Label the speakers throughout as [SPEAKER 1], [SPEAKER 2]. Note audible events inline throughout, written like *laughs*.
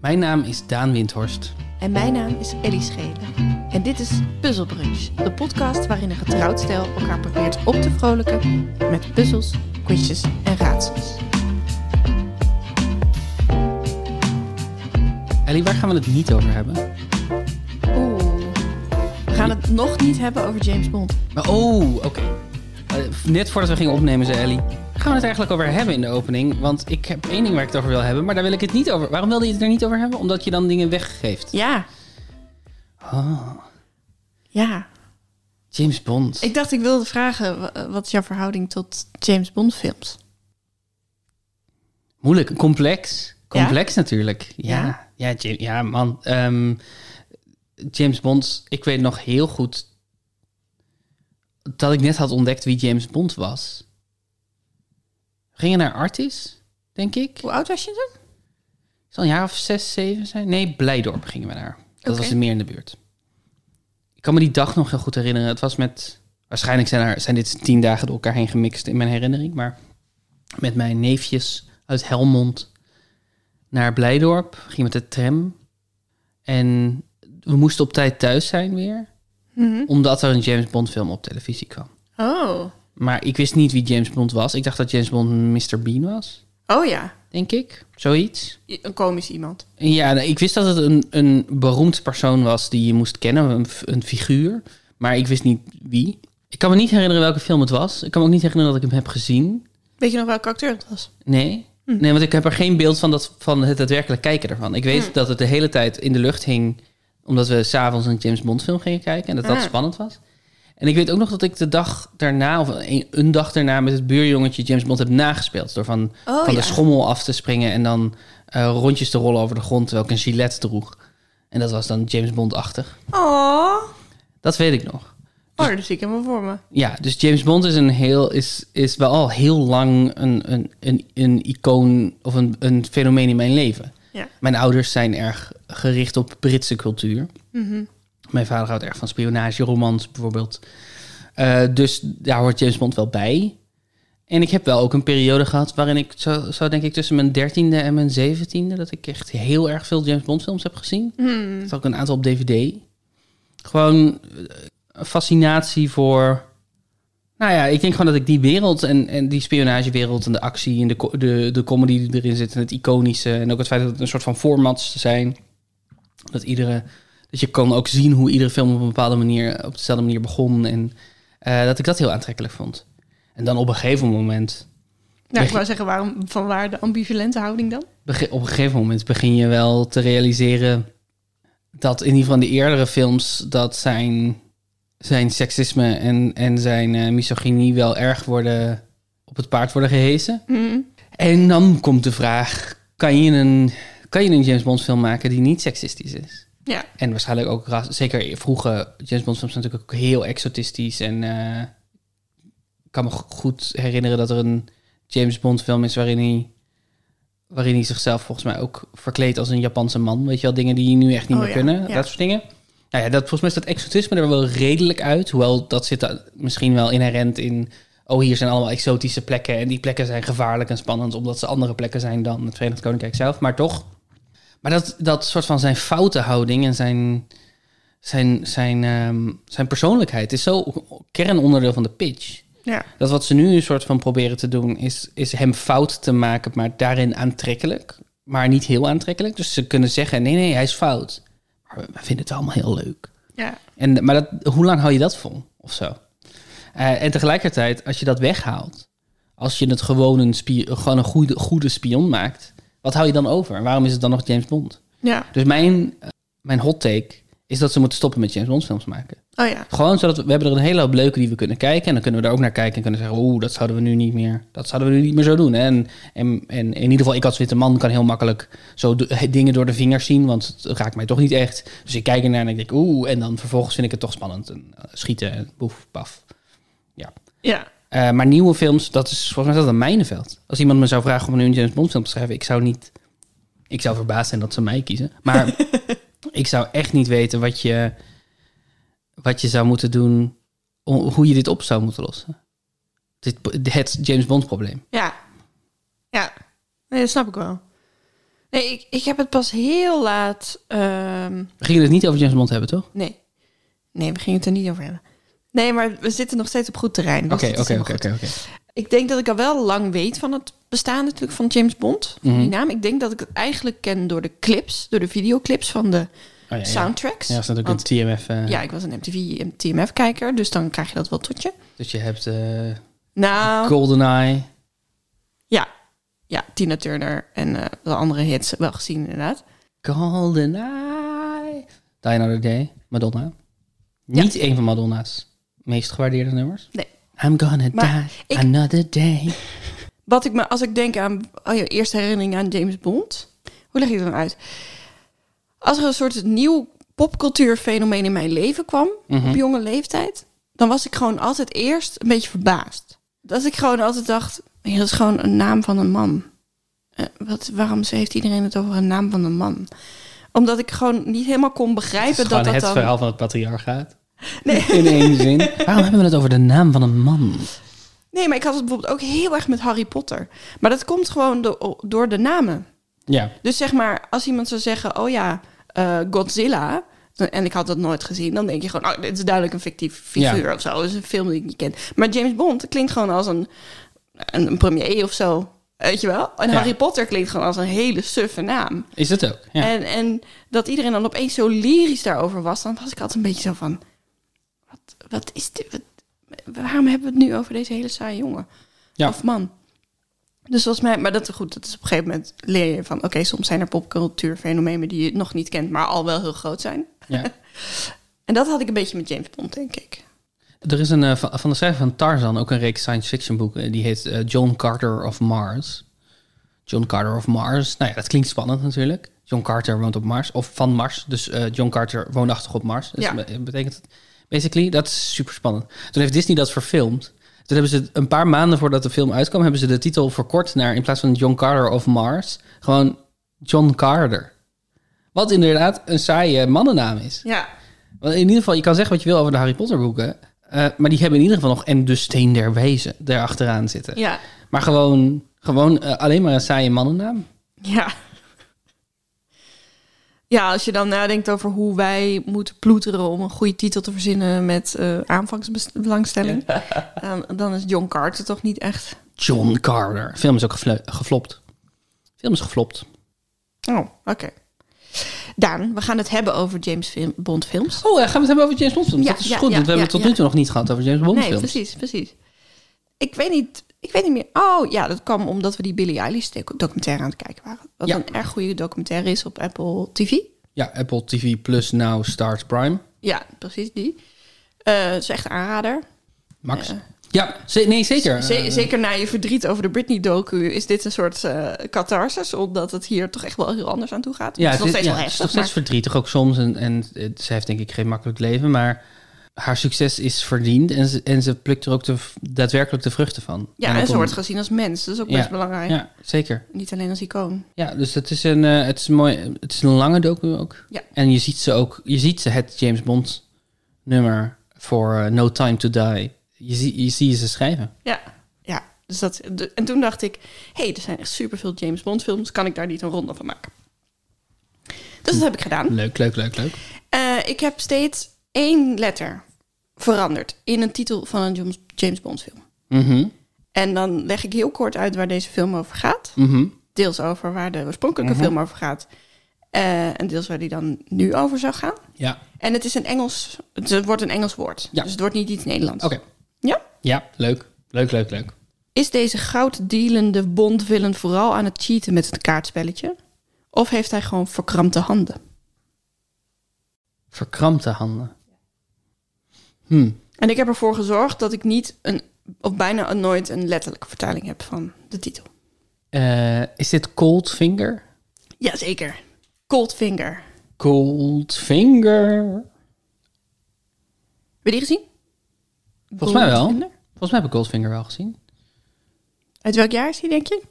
[SPEAKER 1] Mijn naam is Daan Windhorst.
[SPEAKER 2] En mijn naam is Ellie Schelen. En dit is Puzzelbrunch, de podcast waarin een getrouwd stel elkaar probeert op te vrolijken met puzzels, quizjes en raadsels.
[SPEAKER 1] Ellie, waar gaan we het niet over hebben?
[SPEAKER 2] Oeh. We gaan het nog niet hebben over James Bond.
[SPEAKER 1] Maar, oh, oké. Eh, net voordat we gingen opnemen, zei Ellie... Gaan we het eigenlijk over hebben in de opening? Want ik heb één ding waar ik het over wil hebben, maar daar wil ik het niet over. Waarom wilde je het er niet over hebben? Omdat je dan dingen weggeeft.
[SPEAKER 2] Ja.
[SPEAKER 1] Oh,
[SPEAKER 2] Ja.
[SPEAKER 1] James Bond.
[SPEAKER 2] Ah. Ik dacht ik wilde vragen, wa- wat is jouw verhouding tot James Bond films?
[SPEAKER 1] Moeilijk, complex. Complex natuurlijk.
[SPEAKER 2] Ja?
[SPEAKER 1] Ja, ja, Ja, ja man. Ehm, James Bond, ik weet nog heel goed dat ik net had ontdekt wie James Bond was. We Gingen naar Artis, denk ik.
[SPEAKER 2] Hoe oud was je toen?
[SPEAKER 1] Zal een jaar of zes, zeven zijn? Nee, Blijdorp gingen we naar. Dat
[SPEAKER 2] Oké.
[SPEAKER 1] was meer in de buurt. Ik kan me die dag nog heel goed herinneren. Het was met... Waarschijnlijk zijn, er, zijn dit tien dagen door elkaar heen gemixt in mijn herinnering. Maar met mijn neefjes uit Helmond naar Blijdorp. Ging met de tram. En we moesten op tijd thuis zijn weer. Omdat er een James Bond film op televisie kwam.
[SPEAKER 2] Oh.
[SPEAKER 1] Maar ik wist niet wie James Bond was. Ik dacht dat James Bond Mr. Bean was,
[SPEAKER 2] Oh ja.
[SPEAKER 1] denk ik. Zoiets.
[SPEAKER 2] I- Een komisch iemand.
[SPEAKER 1] Ja, nou, ik wist dat het een, een beroemd persoon was die je moest kennen, een, f- een figuur. Maar ik wist niet wie. Ik kan me niet herinneren welke film het was. Ik kan me ook niet herinneren dat ik hem heb gezien.
[SPEAKER 2] Weet je nog welke acteur het was?
[SPEAKER 1] Nee.
[SPEAKER 2] Hm.
[SPEAKER 1] Nee, want ik heb er geen beeld van, dat, van het daadwerkelijk kijken ervan. Ik
[SPEAKER 2] Hm.
[SPEAKER 1] weet dat het de hele tijd in de lucht hing, omdat we s'avonds een James Bond film gingen kijken en dat dat
[SPEAKER 2] Ah.
[SPEAKER 1] spannend was. En ik weet ook nog dat ik de dag daarna, of een, een dag daarna, met het buurjongetje James Bond heb nagespeeld. Door van,
[SPEAKER 2] Oh,
[SPEAKER 1] van
[SPEAKER 2] ja.
[SPEAKER 1] de schommel af te springen en dan eh, rondjes te rollen over de grond, terwijl ik een gilet droeg. En dat was dan James Bond-achtig.
[SPEAKER 2] Oh.
[SPEAKER 1] Dat weet ik nog.
[SPEAKER 2] Oh, dat zie ik helemaal voor me.
[SPEAKER 1] Ja, dus James Bond is, een heel, is, is wel al heel lang een, een, een, een icoon of een, een fenomeen in mijn leven.
[SPEAKER 2] Ja.
[SPEAKER 1] Mijn ouders zijn erg gericht op Britse cultuur. Mijn vader houdt erg van spionage, romans bijvoorbeeld. Eh, dus daar hoort James Bond wel bij. En ik heb wel ook een periode gehad waarin ik zo, zo denk ik tussen mijn dertiende en mijn zeventiende... dat ik echt heel erg veel James Bond films heb gezien. Ik had ook een aantal op dvd. Gewoon eh, een fascinatie voor... Nou ja, ik denk gewoon dat ik die wereld en, en die spionagewereld en de actie en de, co- de, de comedy die erin zit en het iconische en ook het feit dat het een soort van formats zijn. Dat iedere, dat je kan ook zien hoe iedere film op een bepaalde manier, op dezelfde manier begon en eh, dat ik dat heel aantrekkelijk vond. En dan op een gegeven moment,
[SPEAKER 2] Nou, ik wou zeggen, waarom, van waar de ambivalente houding dan?
[SPEAKER 1] bege- op een gegeven moment begin je wel te realiseren dat in ieder geval in de eerdere films dat zijn, zijn seksisme en, en zijn eh, misogynie wel erg worden op het paard worden gehezen. En dan komt de vraag: kan je een, kan je een James Bond film maken die niet seksistisch is?
[SPEAKER 2] Ja.
[SPEAKER 1] En waarschijnlijk ook, ras- zeker vroege James Bond films zijn natuurlijk ook heel exotistisch. En eh, ik kan me go- goed herinneren dat er een James Bond film is waarin hij, waarin hij zichzelf volgens mij ook verkleedt als een Japanse man. Weet je wel, dingen die nu echt niet
[SPEAKER 2] Oh
[SPEAKER 1] meer
[SPEAKER 2] ja,
[SPEAKER 1] kunnen,
[SPEAKER 2] ja.
[SPEAKER 1] dat soort dingen. Nou ja, dat, volgens mij is dat exotisme er wel redelijk uit. Hoewel dat zit da- misschien wel inherent in... oh, hier zijn allemaal exotische plekken... en die plekken zijn gevaarlijk en spannend... omdat ze andere plekken zijn dan het Verenigd Koninkrijk zelf. Maar toch... Maar dat, dat soort van zijn foute houding en zijn, zijn, zijn, ehm, zijn persoonlijkheid... is zo kernonderdeel van de pitch.
[SPEAKER 2] Ja.
[SPEAKER 1] Dat wat ze nu een soort van proberen te doen... is, is hem fout te maken, maar daarin aantrekkelijk. Maar niet heel aantrekkelijk. Dus ze kunnen zeggen, nee, nee, hij is fout. Maar we we vinden het allemaal heel leuk.
[SPEAKER 2] Ja.
[SPEAKER 1] En, maar dat, hoe lang hou je dat vol of zo? Eh, en tegelijkertijd, als je dat weghaalt, als je het gewoon een, spie- gewoon een goede, goede spion maakt, wat hou je dan over? En waarom is het dan nog James Bond?
[SPEAKER 2] Ja.
[SPEAKER 1] Dus mijn, eh, mijn hot take is dat ze moeten stoppen met James Bond films maken.
[SPEAKER 2] Oh ja.
[SPEAKER 1] Gewoon zodat we, we hebben er een hele hoop leuke die we kunnen kijken. En dan kunnen we er ook naar kijken en kunnen zeggen: Oeh, dat zouden we nu niet meer. Dat zouden we nu niet meer zo doen. Hè? En, en, en in ieder geval, ik als witte man kan heel makkelijk zo do- dingen door de vingers zien. Want het raakt mij toch niet echt. Dus ik kijk ernaar en ik denk: Oeh, en dan vervolgens vind ik het toch spannend. En, eh, schieten, en boef, paf. Ja.
[SPEAKER 2] Ja.
[SPEAKER 1] Eh, maar nieuwe films, dat is volgens mij is dat een mijnenveld. Als iemand me zou vragen om nu een James Bond film te schrijven, ik zou niet. Ik zou verbaasd zijn dat ze mij kiezen.
[SPEAKER 2] *laughs*
[SPEAKER 1] Maar ik zou echt niet weten wat je, wat je zou moeten doen. o- Hoe je dit op zou moeten lossen. Dit, het James Bond probleem.
[SPEAKER 2] Ja. Ja. Nee, dat snap ik wel. Nee, ik, ik heb het pas heel laat. ehm,
[SPEAKER 1] We gingen het niet over James Bond hebben, toch?
[SPEAKER 2] nee. Nee, we gingen het er niet over hebben. Nee, maar we zitten nog steeds op goed terrein. dus
[SPEAKER 1] Oké,
[SPEAKER 2] dat is
[SPEAKER 1] oké,
[SPEAKER 2] helemaal
[SPEAKER 1] oké,
[SPEAKER 2] goed.
[SPEAKER 1] oké. Oh oké.
[SPEAKER 2] Ik denk dat ik al wel lang weet van het bestaan natuurlijk van James Bond. van
[SPEAKER 1] Mhm.
[SPEAKER 2] Die naam. Ik denk dat ik het eigenlijk ken door de clips, door de videoclips van de
[SPEAKER 1] Oh, ja, ja.
[SPEAKER 2] soundtracks.
[SPEAKER 1] Ja, er staat ook
[SPEAKER 2] Want-
[SPEAKER 1] een TMF. eh,
[SPEAKER 2] Ja, ik was een MTV en TMF-kijker, dus dan krijg je dat wel tot je.
[SPEAKER 1] Dus je hebt eh
[SPEAKER 2] Nou,
[SPEAKER 1] GoldenEye.
[SPEAKER 2] ja. Ja, Tina Turner en eh, de andere hits wel gezien inderdaad.
[SPEAKER 1] GoldenEye. Die Another Day. Madonna. Niet een van Madonna's meest gewaardeerde nummers.
[SPEAKER 2] Nee.
[SPEAKER 1] I'm gonna
[SPEAKER 2] Maar
[SPEAKER 1] die
[SPEAKER 2] ik-
[SPEAKER 1] another day.
[SPEAKER 2] Wat ik me, als ik denk aan oh ja, eerste herinnering aan James Bond, hoe leg ik dat dan uit? Als er een soort nieuw popcultuurfenomeen in mijn leven kwam,
[SPEAKER 1] Mhm.
[SPEAKER 2] op jonge leeftijd, dan was ik gewoon altijd eerst een beetje verbaasd. Dat ik gewoon altijd dacht, "Ja, dat is gewoon een naam van een man. Eh, wat, waarom heeft iedereen het over een naam van een man? Omdat ik gewoon niet helemaal kon begrijpen
[SPEAKER 1] Het is
[SPEAKER 2] dat
[SPEAKER 1] gewoon
[SPEAKER 2] dat
[SPEAKER 1] het
[SPEAKER 2] dan...
[SPEAKER 1] verhaal van het patriarchaat.
[SPEAKER 2] Nee.
[SPEAKER 1] *laughs* In één zin. Waarom hebben we het over de naam van een man?
[SPEAKER 2] Nee, maar ik had het bijvoorbeeld ook heel erg met Harry Potter. Maar dat komt gewoon do- door de namen.
[SPEAKER 1] Ja.
[SPEAKER 2] Dus zeg maar, als iemand zou zeggen, oh ja, eh, Godzilla... dan- En ik had dat nooit gezien. Dan denk je gewoon, oh, dit is duidelijk een fictief figuur of zo. Het is een film die ik niet ken. Maar James Bond klinkt gewoon als een, een, een premier of zo. Weet je wel? En
[SPEAKER 1] Ja.
[SPEAKER 2] Harry Potter klinkt gewoon als een hele suffe naam.
[SPEAKER 1] Is dat ook? Ja.
[SPEAKER 2] En, en dat iedereen dan opeens zo lyrisch daarover was... dan was ik altijd een beetje zo van... Wat, wat is dit? Wat- waarom hebben we het nu over deze hele saaie jongen?
[SPEAKER 1] Ja.
[SPEAKER 2] Of man? Dus volgens mij... Maar dat, goed, dat is op een gegeven moment leer je van... oké, soms zijn er popcultuurfenomenen die je nog niet kent... maar al wel heel groot zijn.
[SPEAKER 1] ja.
[SPEAKER 2] En dat had ik een beetje met James Bond, denk ik.
[SPEAKER 1] Er is een, eh, van van de schrijver van Tarzan ook een reeks science fiction boeken. eh, Die heet eh, John Carter of Mars. John Carter of Mars. Nou ja, dat klinkt spannend natuurlijk. John Carter woont op Mars. Of van Mars. Dus eh, John Carter woonachtig op Mars. Dus
[SPEAKER 2] Ja.
[SPEAKER 1] be- betekent het. Basically, dat is super spannend. Toen heeft Disney dat verfilmd. Toen hebben ze een paar maanden voordat de film uitkwam... hebben ze de titel verkort naar... in plaats van John Carter of Mars... gewoon John Carter. Wat inderdaad een saaie mannennaam is.
[SPEAKER 2] Ja.
[SPEAKER 1] Want in ieder geval, je kan zeggen wat je wil over de Harry Potter boeken. eh, maar die hebben in ieder geval nog en de steen der wezen erachteraan zitten.
[SPEAKER 2] Ja.
[SPEAKER 1] Maar gewoon, gewoon eh, alleen maar een saaie mannennaam.
[SPEAKER 2] Ja. Ja, als je dan nadenkt over hoe wij moeten ploeteren om een goede titel te verzinnen met eh aanvangsbelangstelling, *laughs* dan, dan is John Carter toch niet echt.
[SPEAKER 1] John Carter. Film is ook gefle- geflopt. Film is geflopt.
[SPEAKER 2] Oh, oké. Daan, we gaan het hebben over James film- Bond films.
[SPEAKER 1] Oh, eh, gaan we het hebben over James Bond films?
[SPEAKER 2] Ja,
[SPEAKER 1] dat is
[SPEAKER 2] ja,
[SPEAKER 1] goed,
[SPEAKER 2] ja,
[SPEAKER 1] want we
[SPEAKER 2] ja,
[SPEAKER 1] hebben het tot
[SPEAKER 2] ja.
[SPEAKER 1] nu toe nog niet gehad over James Bond
[SPEAKER 2] Nee,
[SPEAKER 1] films.
[SPEAKER 2] precies, precies. Ik weet niet, ik weet niet meer. Oh ja, dat kwam omdat we die Billie Eilish docu- documentaire aan het kijken waren. Wat
[SPEAKER 1] Ja.
[SPEAKER 2] een erg goede documentaire is op Apple TV.
[SPEAKER 1] Ja, Apple TV Plus Now Stars Prime.
[SPEAKER 2] Ja, precies die. Eh het is echt een aanrader.
[SPEAKER 1] Max. Ja, ze- nee, zeker.
[SPEAKER 2] Eh. Ze-
[SPEAKER 1] Eh,
[SPEAKER 2] zeker na je verdriet over de Britney-docu is dit een soort eh catharsis, omdat het hier toch echt wel heel anders aan toe gaat.
[SPEAKER 1] Ja,
[SPEAKER 2] het is nog steeds
[SPEAKER 1] ja,
[SPEAKER 2] wel
[SPEAKER 1] het is nog
[SPEAKER 2] heftig,
[SPEAKER 1] steeds
[SPEAKER 2] maar
[SPEAKER 1] verdrietig ook soms. En, en het- ze heeft denk ik geen makkelijk leven. Maar haar succes is verdiend. En ze, en ze plukt er ook de, daadwerkelijk de vruchten van.
[SPEAKER 2] ja,
[SPEAKER 1] En dat
[SPEAKER 2] en ze
[SPEAKER 1] om-
[SPEAKER 2] wordt gezien als mens, dat is ook
[SPEAKER 1] Ja,
[SPEAKER 2] best belangrijk.
[SPEAKER 1] Ja, zeker.
[SPEAKER 2] Niet alleen als icoon.
[SPEAKER 1] Ja, dus het is een, eh, het is een mooi, het is een lange docu ook.
[SPEAKER 2] Ja.
[SPEAKER 1] En je ziet ze ook, je ziet ze het James Bond nummer voor eh, No Time To Die. Je, zie- je ziet ze schrijven.
[SPEAKER 2] Ja, ja. Dus dat, de- en toen dacht ik, hé, hey, er zijn echt superveel James Bond films, kan ik daar niet een ronde van maken? Dus dat heb ik gedaan.
[SPEAKER 1] Leuk, leuk, leuk, leuk.
[SPEAKER 2] Eh, ik heb steeds één letter veranderd in een titel van een James- James Bond film.
[SPEAKER 1] Mhm,
[SPEAKER 2] En dan leg ik heel kort uit waar deze film over gaat.
[SPEAKER 1] mhm.
[SPEAKER 2] deels over waar de oorspronkelijke film over gaat. eh, en deels waar die dan nu over zou gaan.
[SPEAKER 1] Ja,
[SPEAKER 2] En het is een Engels, het wordt een Engels woord.
[SPEAKER 1] Ja.
[SPEAKER 2] Dus het wordt niet iets Nederlands.
[SPEAKER 1] oké.
[SPEAKER 2] Ja?
[SPEAKER 1] Ja, leuk. Leuk, leuk, leuk.
[SPEAKER 2] Is deze gouddealende bondvillen vooral aan het cheaten met het kaartspelletje? Of heeft hij gewoon verkrampte handen?
[SPEAKER 1] Verkrampte handen. Hm.
[SPEAKER 2] En ik heb ervoor gezorgd dat ik niet een, of bijna nooit een letterlijke vertaling heb van de titel.
[SPEAKER 1] Eh, is dit Cold Finger?
[SPEAKER 2] Jazeker. Coldfinger.
[SPEAKER 1] Cold Finger.
[SPEAKER 2] Heb je die gezien?
[SPEAKER 1] Volgens mij wel.
[SPEAKER 2] Goldfinger?
[SPEAKER 1] Volgens mij heb ik Cold Finger wel gezien.
[SPEAKER 2] Uit welk jaar is die, denk je?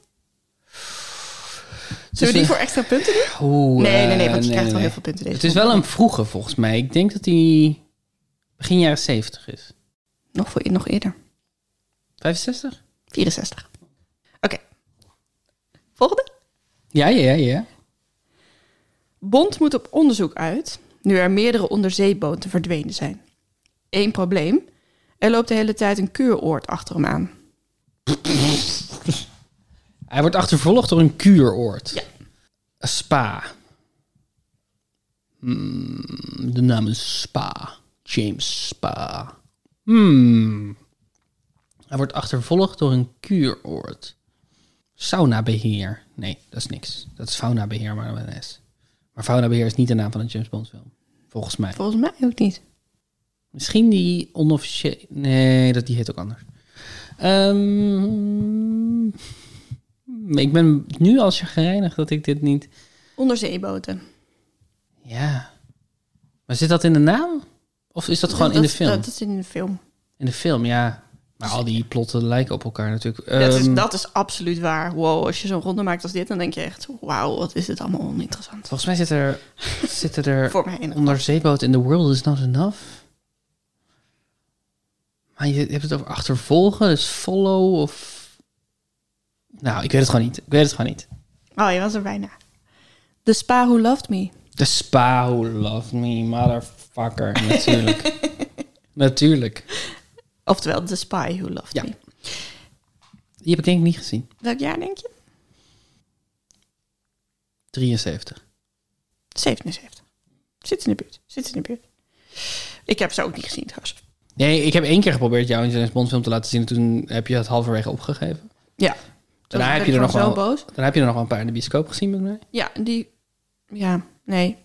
[SPEAKER 2] Zullen
[SPEAKER 1] eh,
[SPEAKER 2] we die voor extra punten doen?
[SPEAKER 1] Dus Oeh,
[SPEAKER 2] Nee, nee,
[SPEAKER 1] eh,
[SPEAKER 2] nee, want je krijgt wel
[SPEAKER 1] nee.
[SPEAKER 2] heel veel punten deze.
[SPEAKER 1] Het is wel een vroege volgens mij. Ik denk dat die begin jaren 70 is.
[SPEAKER 2] Nog, voor, nog eerder.
[SPEAKER 1] 65?
[SPEAKER 2] 64. Oké. Volgende.
[SPEAKER 1] Ja, ja, ja.
[SPEAKER 2] Bond moet op onderzoek uit, nu er meerdere onderzeeboten verdwenen zijn. Eén probleem, er loopt de hele tijd een kuuroord achter hem aan.
[SPEAKER 1] Hij wordt achtervolgd door een kuuroord.
[SPEAKER 2] Ja.
[SPEAKER 1] Een Spa. Hmm, de naam is Spa. James Spa. Hmm. Hij wordt achtervolgd door een kuuroord. Saunabeheer. Nee, dat is niks. Dat is faunabeheer, maar met een S. Maar faunabeheer is niet de naam van een James Bond film. Volgens mij.
[SPEAKER 2] Volgens mij ook niet.
[SPEAKER 1] Misschien die onofficiële... Nee, dat, die heet ook anders. Ehm, ik ben nu al chagrijnig dat ik dit niet...
[SPEAKER 2] Onderzeeboten.
[SPEAKER 1] Ja. Maar zit dat in de naam? Of is dat gewoon in de film?
[SPEAKER 2] Dat, is in de film.
[SPEAKER 1] In de film, ja. Maar al die plotten lijken op elkaar natuurlijk.
[SPEAKER 2] dat, is,
[SPEAKER 1] Ehm,
[SPEAKER 2] dat is absoluut waar. Wow, als je zo'n ronde maakt als dit, dan denk je echt... Wauw, wat is dit allemaal oninteressant.
[SPEAKER 1] Volgens mij zit er, zitten er
[SPEAKER 2] *laughs* Voor mij. in-
[SPEAKER 1] onderzeeboot in The World Is Not Enough. Maar je hebt het over achtervolgen, dus follow of... Nou, ik weet het gewoon niet. Ik weet het gewoon niet.
[SPEAKER 2] Oh, je was er bijna. The Spa Who Loved Me.
[SPEAKER 1] De spa who loved me, motherfucker. *laughs* Natuurlijk. Natuurlijk.
[SPEAKER 2] Oftewel, The Spy Who Loved
[SPEAKER 1] Ja.
[SPEAKER 2] Me.
[SPEAKER 1] Die heb ik denk ik niet gezien.
[SPEAKER 2] Welk jaar denk je?
[SPEAKER 1] 73.
[SPEAKER 2] 77. Zit in de buurt. Zit in de buurt. Ik heb ze ook niet gezien trouwens.
[SPEAKER 1] Nee, ik heb één keer geprobeerd jou een James Bond film te laten zien. En toen heb je het halverwege opgegeven.
[SPEAKER 2] Ja. Toen
[SPEAKER 1] Daarna heb,
[SPEAKER 2] ben
[SPEAKER 1] je
[SPEAKER 2] ik
[SPEAKER 1] er nog
[SPEAKER 2] gewoon
[SPEAKER 1] wel,
[SPEAKER 2] zo boos.
[SPEAKER 1] daarna heb je er nog wel een paar in de bioscoop gezien met mij.
[SPEAKER 2] Ja, die... Ja, nee.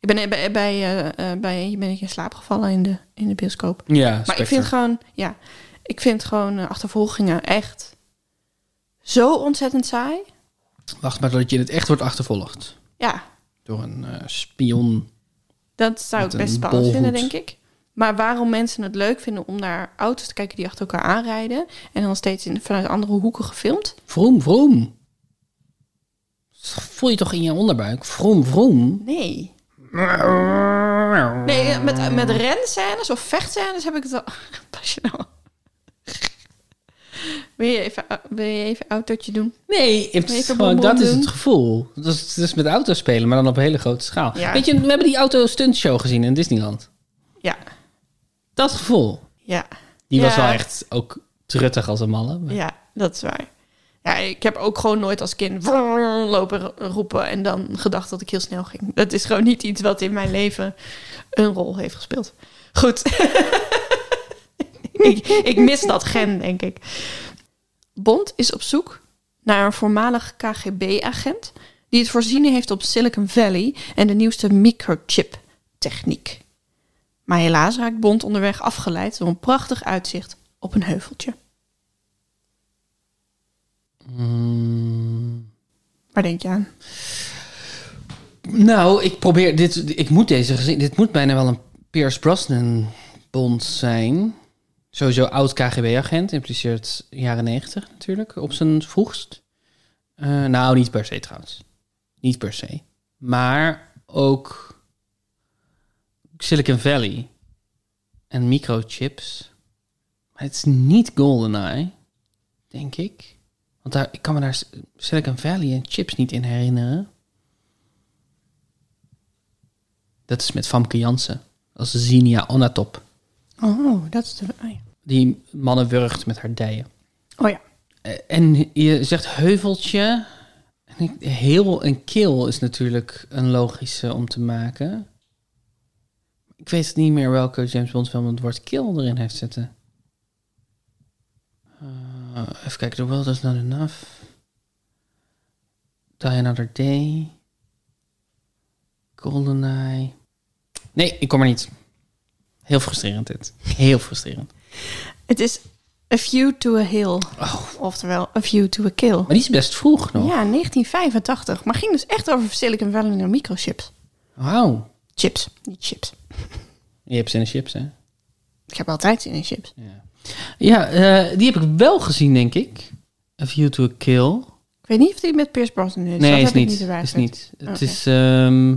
[SPEAKER 2] Ik ben bij, bij, eh, eh, bij eentje ben ik in slaap gevallen in de, in de bioscoop.
[SPEAKER 1] Ja,
[SPEAKER 2] Maar ik vind gewoon, ja, ik vind gewoon eh, achtervolgingen echt zo ontzettend saai.
[SPEAKER 1] Wacht maar dat je in het echt wordt achtervolgd.
[SPEAKER 2] Ja,
[SPEAKER 1] Door een eh, spion.
[SPEAKER 2] dat zou
[SPEAKER 1] Met
[SPEAKER 2] ik best
[SPEAKER 1] een
[SPEAKER 2] spannend vinden,
[SPEAKER 1] bolhoed.
[SPEAKER 2] denk ik. Maar waarom mensen het leuk vinden om naar auto's te kijken die achter elkaar aanrijden en dan steeds in, vanuit andere hoeken gefilmd?
[SPEAKER 1] Vroom, vroom. Voel je toch in je onderbuik? Vroom, vroom.
[SPEAKER 2] Nee. Nee, eh, met, met renscènes of vechtscènes heb ik het al. *laughs* Pas je nou. Wil je even, wil je even autootje doen?
[SPEAKER 1] Nee, het is
[SPEAKER 2] Even
[SPEAKER 1] gewoon, dat
[SPEAKER 2] bonbon
[SPEAKER 1] is het
[SPEAKER 2] doen.
[SPEAKER 1] gevoel. Dat is, dat is met auto's spelen, maar dan op een hele grote schaal.
[SPEAKER 2] Ja.
[SPEAKER 1] Weet je, we hebben die auto stunt show gezien in Disneyland.
[SPEAKER 2] Ja.
[SPEAKER 1] Dat gevoel.
[SPEAKER 2] Ja.
[SPEAKER 1] Die was
[SPEAKER 2] Ja.
[SPEAKER 1] wel echt ook truttig als een malle. maar-
[SPEAKER 2] Ja, dat is waar. Ja, ik heb ook gewoon nooit als kind *laughs* vrrr lopen ro- roepen en dan gedacht dat ik heel snel ging. Dat is gewoon niet iets wat in mijn leven een rol heeft gespeeld. Goed. *laughs* ik, ik mis dat gen, denk ik. Bond is op zoek naar een voormalig KGB-agent die het voorzien heeft op Silicon Valley en de nieuwste microchip-techniek. Maar helaas raakt Bond onderweg afgeleid door een prachtig uitzicht op een heuveltje.
[SPEAKER 1] Mm.
[SPEAKER 2] Waar denk je aan?
[SPEAKER 1] Nou, ik probeer dit. Ik moet deze gezien. Dit moet bijna wel een Piers Brosnan bond zijn. Sowieso oud KGB-agent, impliceert jaren 90 natuurlijk, op zijn vroegst. Eh, nou, niet per se trouwens. Niet per se. Maar ook Silicon Valley en microchips. Maar het is niet GoldenEye, denk ik. Want daar, ik kan me daar Silicon Valley en chips niet in herinneren. Dat is met Famke Jansen. Als Zinia Onatop.
[SPEAKER 2] Oh, dat is de. Oh ja.
[SPEAKER 1] Die mannen wurgt met haar dijen.
[SPEAKER 2] Oh ja.
[SPEAKER 1] Eh, En je zegt heuveltje. En ik- heel en keel is natuurlijk een logische om te maken. Ik weet niet meer welke James Bond film het woord keel erin heeft zitten. Eh, even kijken. The World Is Not Enough. Die Another Day. GoldenEye. Nee, ik kom er niet. Heel frustrerend dit. Heel frustrerend.
[SPEAKER 2] Het is A View to a Hill.
[SPEAKER 1] Oh.
[SPEAKER 2] Oftewel, A View to a Kill.
[SPEAKER 1] Maar die is best vroeg nog.
[SPEAKER 2] Ja, 1985. Maar ging dus echt over Silicon Valley en microchips.
[SPEAKER 1] Wauw.
[SPEAKER 2] Chips, niet chips.
[SPEAKER 1] Je hebt zin in chips, hè?
[SPEAKER 2] Ik heb altijd zin in chips.
[SPEAKER 1] Ja, ja eh, die heb ik wel gezien, denk ik. A View to a Kill.
[SPEAKER 2] Ik weet niet of die met Pierce Brosnan is. dat
[SPEAKER 1] nee, is
[SPEAKER 2] heb ik
[SPEAKER 1] niet.
[SPEAKER 2] niet erbij
[SPEAKER 1] is
[SPEAKER 2] gezet.
[SPEAKER 1] niet. Het
[SPEAKER 2] Oké.
[SPEAKER 1] is... ehm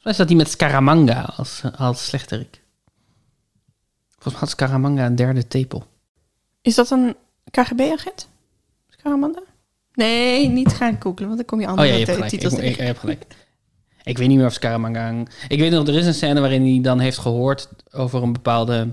[SPEAKER 1] volgens mij staat die met Scaramanga als, als slechterik. Volgens mij had Scaramanga een derde tepel.
[SPEAKER 2] Is dat een KGB-agent? Scaramanda? Nee, niet gaan googlen, want dan kom je
[SPEAKER 1] Oh ja,
[SPEAKER 2] andere
[SPEAKER 1] je hebt
[SPEAKER 2] te-
[SPEAKER 1] gelijk. Ik,
[SPEAKER 2] titels
[SPEAKER 1] ik, ik
[SPEAKER 2] tegen.
[SPEAKER 1] heb gelijk. Ik weet niet meer of Scaramangang... Ik weet nog, er is een scène waarin hij dan heeft gehoord over een bepaalde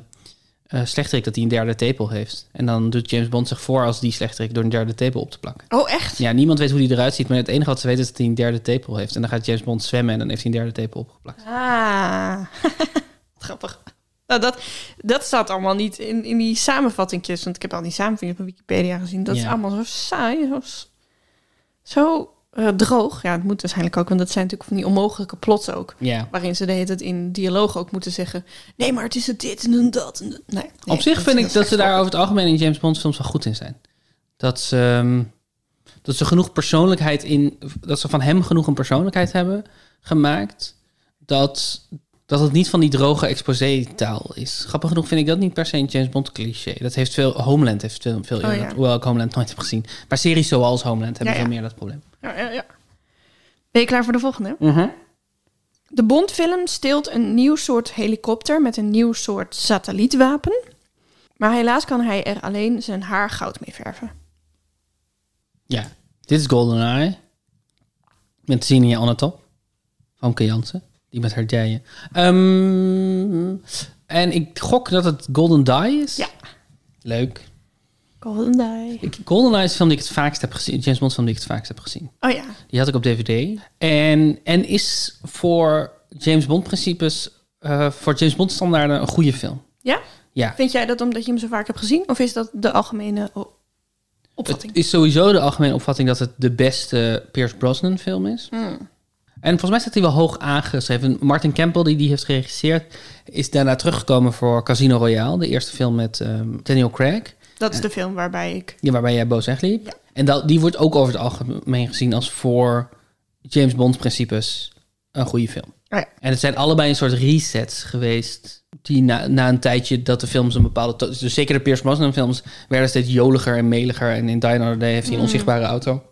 [SPEAKER 1] eh slechterik dat hij een derde tepel heeft. En dan doet James Bond zich voor als die slechterik door een derde tepel op te plakken.
[SPEAKER 2] Oh, echt?
[SPEAKER 1] Ja, niemand weet hoe die eruit ziet, maar het enige wat ze weten is dat hij een derde tepel heeft. En dan gaat James Bond zwemmen en dan heeft hij een derde tepel opgeplakt.
[SPEAKER 2] Ah, *laughs* grappig. Nou, dat, dat staat allemaal niet in, in die samenvattingjes. Want ik heb al die samenvattingen op Wikipedia gezien. Dat is
[SPEAKER 1] Ja.
[SPEAKER 2] allemaal zo saai. Zo, s- zo eh, droog. Ja, het moet waarschijnlijk ook. Want dat zijn natuurlijk van die onmogelijke plots ook.
[SPEAKER 1] Ja.
[SPEAKER 2] Waarin ze de hele tijd in dialoog ook moeten zeggen... Nee, maar het is het dit en een dat. En dat. Nee, nee,
[SPEAKER 1] Op zich vind
[SPEAKER 2] is
[SPEAKER 1] ik dat
[SPEAKER 2] echt
[SPEAKER 1] ze daar
[SPEAKER 2] grappig.
[SPEAKER 1] over het algemeen in James Bond films wel goed in zijn. Dat ze, ehm, dat ze genoeg persoonlijkheid in... Dat ze van hem genoeg een persoonlijkheid hebben gemaakt. Dat, dat het niet van die droge exposé-taal is. Grappig genoeg vind ik dat niet per se een James Bond cliché. Dat heeft veel... Homeland heeft veel, veel eerder.
[SPEAKER 2] Oh, ja.
[SPEAKER 1] Hoewel ik Homeland nooit heb gezien. Maar series zoals Homeland hebben
[SPEAKER 2] Ja,
[SPEAKER 1] veel
[SPEAKER 2] ja.
[SPEAKER 1] meer dat probleem.
[SPEAKER 2] Ja, ja, ja. Ben je klaar voor de volgende? De Bondfilm steelt een nieuw soort helikopter met een nieuw soort satellietwapen. Maar helaas kan hij er alleen zijn haar goud mee verven.
[SPEAKER 1] Ja, dit is GoldenEye. Met Zinia aan het top. Famke Jansen. Die met haar dijen. Ehm, en ik gok dat het Golden Die is.
[SPEAKER 2] Ja.
[SPEAKER 1] Leuk.
[SPEAKER 2] GoldenEye.
[SPEAKER 1] Ik, GoldenEye is de film die ik het vaakst heb gezien. James Bond film die ik het vaakst heb gezien.
[SPEAKER 2] Oh ja.
[SPEAKER 1] Die had ik op DVD. En, en is voor James Bond principes... eh, voor James Bond standaarden een goede film.
[SPEAKER 2] Ja?
[SPEAKER 1] Ja.
[SPEAKER 2] Vind jij dat omdat je hem zo vaak hebt gezien? Of is dat de algemene o- opvatting?
[SPEAKER 1] Het is sowieso de algemene opvatting dat het de beste Pierce Brosnan film is.
[SPEAKER 2] Hmm.
[SPEAKER 1] En volgens mij staat hij wel hoog aangeschreven. Martin Campbell, die die heeft geregisseerd, is daarna teruggekomen voor Casino Royale. De eerste film met ehm, Daniel Craig,
[SPEAKER 2] Dat is de film waarbij ik...
[SPEAKER 1] ja, waarbij jij boos wegliep.
[SPEAKER 2] Ja.
[SPEAKER 1] En dat, die wordt ook over het algemeen gezien als voor James Bond principes een goede film.
[SPEAKER 2] Oh ja.
[SPEAKER 1] En het zijn allebei een soort resets geweest. Die na, na een tijdje dat de films een bepaalde... to- Dus zeker de Pierce Brosnan films werden steeds joliger en meliger. En in Die Another Day heeft hij een onzichtbare auto.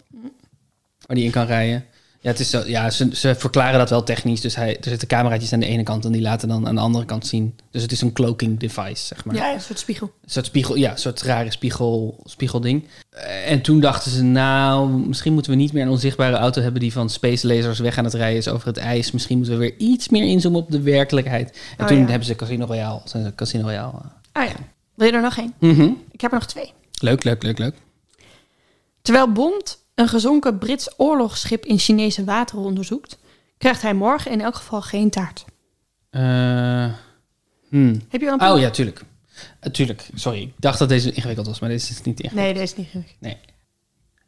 [SPEAKER 1] Waar hij in kan rijden. Ja, het is zo, ja ze, ze verklaren dat wel technisch. Dus hij, er zitten cameraatjes aan de ene kant en die laten dan aan de andere kant zien. Dus het is een cloaking device, zeg maar.
[SPEAKER 2] Ja, een soort spiegel.
[SPEAKER 1] Een soort spiegel, ja, een soort rare spiegel, spiegelding. Eh, En toen dachten ze, nou, misschien moeten we niet meer een onzichtbare auto hebben die van space lasers weg aan het rijden is over het ijs. Misschien moeten we weer iets meer inzoomen op de werkelijkheid. En
[SPEAKER 2] Oh,
[SPEAKER 1] toen
[SPEAKER 2] ja.
[SPEAKER 1] hebben ze Casino Royale. Zijn ze Casino Royale. eh.
[SPEAKER 2] Ah ja. Wil je er nog één?
[SPEAKER 1] Mhm.
[SPEAKER 2] Ik heb er nog twee.
[SPEAKER 1] Leuk, leuk, leuk, leuk.
[SPEAKER 2] Terwijl Bond een gezonken Brits oorlogsschip in Chinese wateren onderzoekt... krijgt hij morgen in elk geval geen taart.
[SPEAKER 1] Eh, hmm.
[SPEAKER 2] Heb je al een
[SPEAKER 1] Oh ja, tuurlijk. Eh, tuurlijk, sorry. Ik dacht dat deze ingewikkeld was, maar deze is niet ingewikkeld.
[SPEAKER 2] Nee, deze is niet gelukt.
[SPEAKER 1] Nee.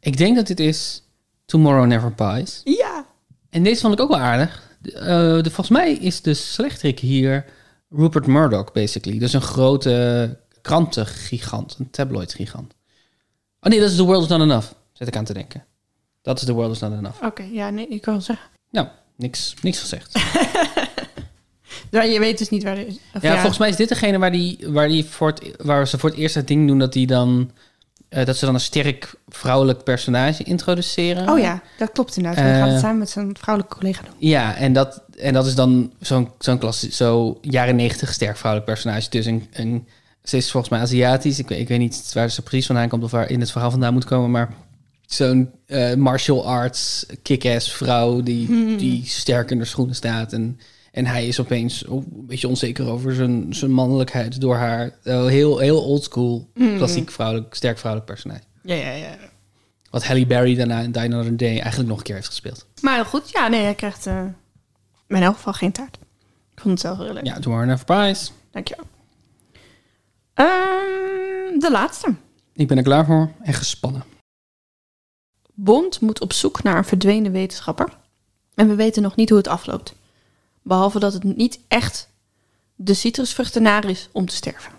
[SPEAKER 1] Ik denk dat dit is Tomorrow Never Pies.
[SPEAKER 2] Ja.
[SPEAKER 1] En deze vond ik ook wel aardig. De, eh, de, volgens mij is de slechterik hier Rupert Murdoch, basically. Dus een grote krantengigant, een tabloid-gigant. Oh nee, dat is The World Is Not Enough, zet ik aan te denken. Dat is The World Is Not Enough.
[SPEAKER 2] Oké, ja, nee, ik wil zeggen.
[SPEAKER 1] Nou, niks, niks gezegd.
[SPEAKER 2] Ja, je weet dus niet waar de. of
[SPEAKER 1] Ja, volgens mij is dit degene waar, die, waar, die voor het, e- waar ze voor het eerst het ding doen... dat, die dan, eh, dat ze dan een sterk vrouwelijk personage introduceren.
[SPEAKER 2] Oh ja, dat klopt inderdaad. Hij
[SPEAKER 1] Eh.
[SPEAKER 2] gaat het samen met zijn vrouwelijke collega doen.
[SPEAKER 1] Ja, en dat, en dat is dan zo'n zo'n klassie- zo jaren negentig sterk vrouwelijk personage. Dus een, een, ze is volgens mij Aziatisch. Ik, weet- ik weet niet waar ze precies vandaan komt of waar in het verhaal vandaan moet komen. Maar zo'n eh, martial arts kick-ass vrouw die, die sterk in haar schoenen staat. En, en hij is opeens oh, een beetje onzeker over zijn, zijn mannelijkheid door haar. Eh, heel, heel oldschool, klassiek vrouwelijk, sterk vrouwelijk personage.
[SPEAKER 2] Ja, ja, ja.
[SPEAKER 1] Wat Halle Berry daarna in Die Another Day eigenlijk nog een keer heeft gespeeld.
[SPEAKER 2] Maar heel goed, ja, nee, hij krijgt eh, maar in elk geval geen taart. Ik vond het zelf heel leuk.
[SPEAKER 1] Ja, Tomorrow Never Prize.
[SPEAKER 2] Dankjewel. Ehm, de laatste.
[SPEAKER 1] Ik ben er klaar voor en gespannen.
[SPEAKER 2] Bond moet op zoek naar een verdwenen wetenschapper. En we weten nog niet hoe het afloopt. Behalve dat het niet echt de citrusvruchtenaar is om te sterven.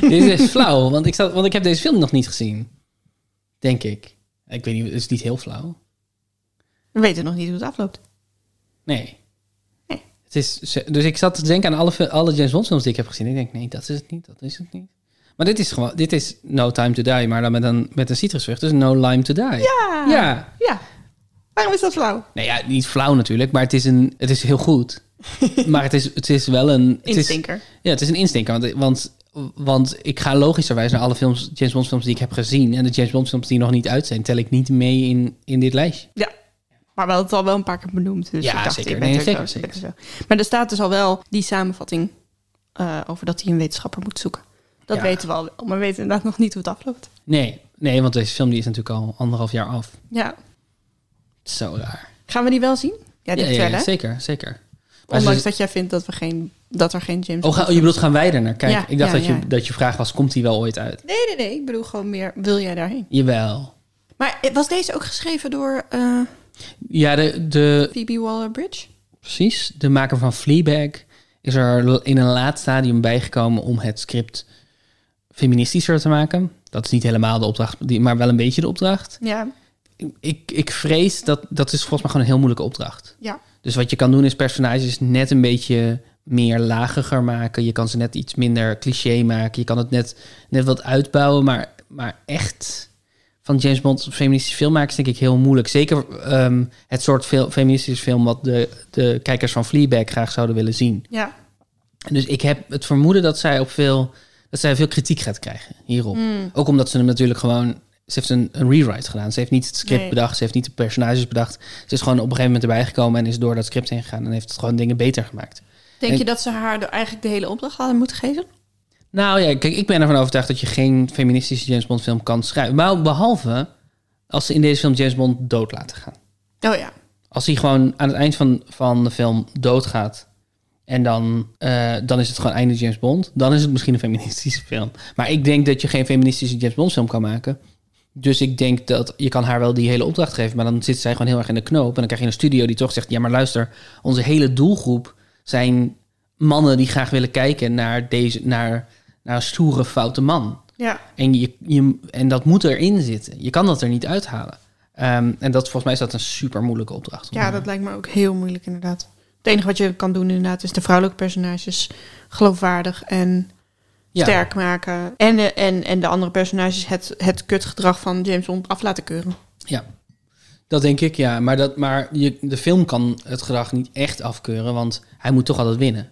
[SPEAKER 1] *laughs* Dit is flauw, want ik, zat, want ik heb deze film nog niet gezien. Denk ik. Ik weet niet, het is niet heel flauw.
[SPEAKER 2] We weten nog niet hoe het afloopt.
[SPEAKER 1] Nee.
[SPEAKER 2] Nee.
[SPEAKER 1] Het is, dus ik zat te denken aan alle, fil- alle James Bond films die ik heb gezien. Ik denk, nee, dat is het niet, dat is het niet. Maar dit is gewoon, dit is No Time to Die, maar dan met een, met een citrusvrucht. Dus No Lime to Die.
[SPEAKER 2] Ja.
[SPEAKER 1] Ja.
[SPEAKER 2] Ja. Waarom is dat flauw?
[SPEAKER 1] Nee, ja, niet flauw natuurlijk, maar het is, een, het is heel
[SPEAKER 2] *laughs*
[SPEAKER 1] goed. maar het is, het is wel een... Het is,
[SPEAKER 2] Instinker.
[SPEAKER 1] Ja, het is een instinker. Want, want, want ik ga logischerwijs naar alle films, James Bond films die ik heb gezien. En de James Bond films die nog niet uit zijn, tel ik niet mee in, in dit lijstje.
[SPEAKER 2] Ja. Maar we hadden het al wel een paar keer benoemd. Dus
[SPEAKER 1] Ja,
[SPEAKER 2] ik dacht,
[SPEAKER 1] zeker.
[SPEAKER 2] ik ben
[SPEAKER 1] Nee,
[SPEAKER 2] er
[SPEAKER 1] zeker,
[SPEAKER 2] zo, ik ben er
[SPEAKER 1] zeker.
[SPEAKER 2] zo. Maar er staat dus al wel die samenvatting eh, over dat hij een wetenschapper moet zoeken. Dat
[SPEAKER 1] Ja.
[SPEAKER 2] weten we al wel, maar we weten inderdaad nog niet hoe het afloopt.
[SPEAKER 1] Nee, nee, want deze film die is natuurlijk al anderhalf jaar af.
[SPEAKER 2] Ja.
[SPEAKER 1] Zo raar.
[SPEAKER 2] Gaan we die wel zien? Ja, die trailer.
[SPEAKER 1] zeker, zeker. Maar
[SPEAKER 2] Ondanks
[SPEAKER 1] ze-
[SPEAKER 2] dat jij vindt dat, we geen, dat er geen James
[SPEAKER 1] Oh, ga-
[SPEAKER 2] Bond
[SPEAKER 1] oh, je bedoelt, gaan wij er naar kijken?
[SPEAKER 2] Ja,
[SPEAKER 1] ik dacht
[SPEAKER 2] ja,
[SPEAKER 1] dat, je,
[SPEAKER 2] ja.
[SPEAKER 1] dat je vraag was, komt die wel ooit uit?
[SPEAKER 2] Nee, nee, nee. Ik bedoel gewoon meer, wil jij daarheen?
[SPEAKER 1] Jawel.
[SPEAKER 2] Maar eh, was deze ook geschreven door eh
[SPEAKER 1] Ja, de, de,
[SPEAKER 2] Phoebe Waller-Bridge?
[SPEAKER 1] precies. De maker van Fleabag is er l- in een laat stadium bijgekomen om het script feministischer te maken. Dat is niet helemaal de opdracht, die- maar wel een beetje de opdracht.
[SPEAKER 2] Ja.
[SPEAKER 1] Ik, ik vrees dat dat is volgens mij gewoon een heel moeilijke opdracht.
[SPEAKER 2] Ja.
[SPEAKER 1] Dus wat je kan doen is personages net een beetje meer lagiger maken. Je kan ze net iets minder cliché maken. Je kan het net, net wat uitbouwen. Maar, maar echt van James Bond feministische film maken is denk ik heel moeilijk. Zeker ehm, het soort fil- feministische film wat de, de kijkers van Fleabag graag zouden willen zien.
[SPEAKER 2] Ja.
[SPEAKER 1] Dus ik heb het vermoeden dat zij op veel, dat zij veel kritiek gaat krijgen hierop.
[SPEAKER 2] Mm.
[SPEAKER 1] Ook omdat ze hem natuurlijk gewoon... Ze heeft een, een rewrite gedaan. Ze heeft niet het script
[SPEAKER 2] Nee.
[SPEAKER 1] bedacht. Ze heeft niet de personages bedacht. Ze is gewoon op een gegeven moment erbij gekomen... en is door dat script heen gegaan en heeft het gewoon dingen beter gemaakt.
[SPEAKER 2] Denk
[SPEAKER 1] En-
[SPEAKER 2] je dat ze haar de- eigenlijk de hele opdracht hadden moeten geven?
[SPEAKER 1] Nou ja, kijk, ik ben ervan overtuigd dat je geen feministische James Bond film kan schrijven. Maar behalve als ze in deze film James Bond dood laten gaan.
[SPEAKER 2] Oh ja.
[SPEAKER 1] Als hij gewoon aan het eind van, van de film doodgaat... en dan, eh, dan is het gewoon einde James Bond... dan is het misschien een feministische film. Maar ik denk dat je geen feministische James Bond film kan maken... Dus ik denk dat je kan haar wel die hele opdracht geven, maar dan zit zij gewoon heel erg in de knoop. En dan krijg je een studio die toch zegt: ja, maar luister, onze hele doelgroep zijn mannen die graag willen kijken naar deze, naar, naar een stoere foute man.
[SPEAKER 2] Ja.
[SPEAKER 1] En, je, je, en dat moet erin zitten. Je kan dat er niet uithalen. Ehm, en dat volgens mij is dat een super moeilijke opdracht.
[SPEAKER 2] Ja, dat lijkt me ook heel moeilijk inderdaad. Het enige wat je kan doen inderdaad is de vrouwelijke personages geloofwaardig en
[SPEAKER 1] Ja.
[SPEAKER 2] sterk maken. En, de- en, en de andere personages het, het kutgedrag van James Bond af laten keuren.
[SPEAKER 1] Ja, dat denk ik, ja. Maar, dat, maar je, de film kan het gedrag niet echt afkeuren, want hij moet toch altijd winnen.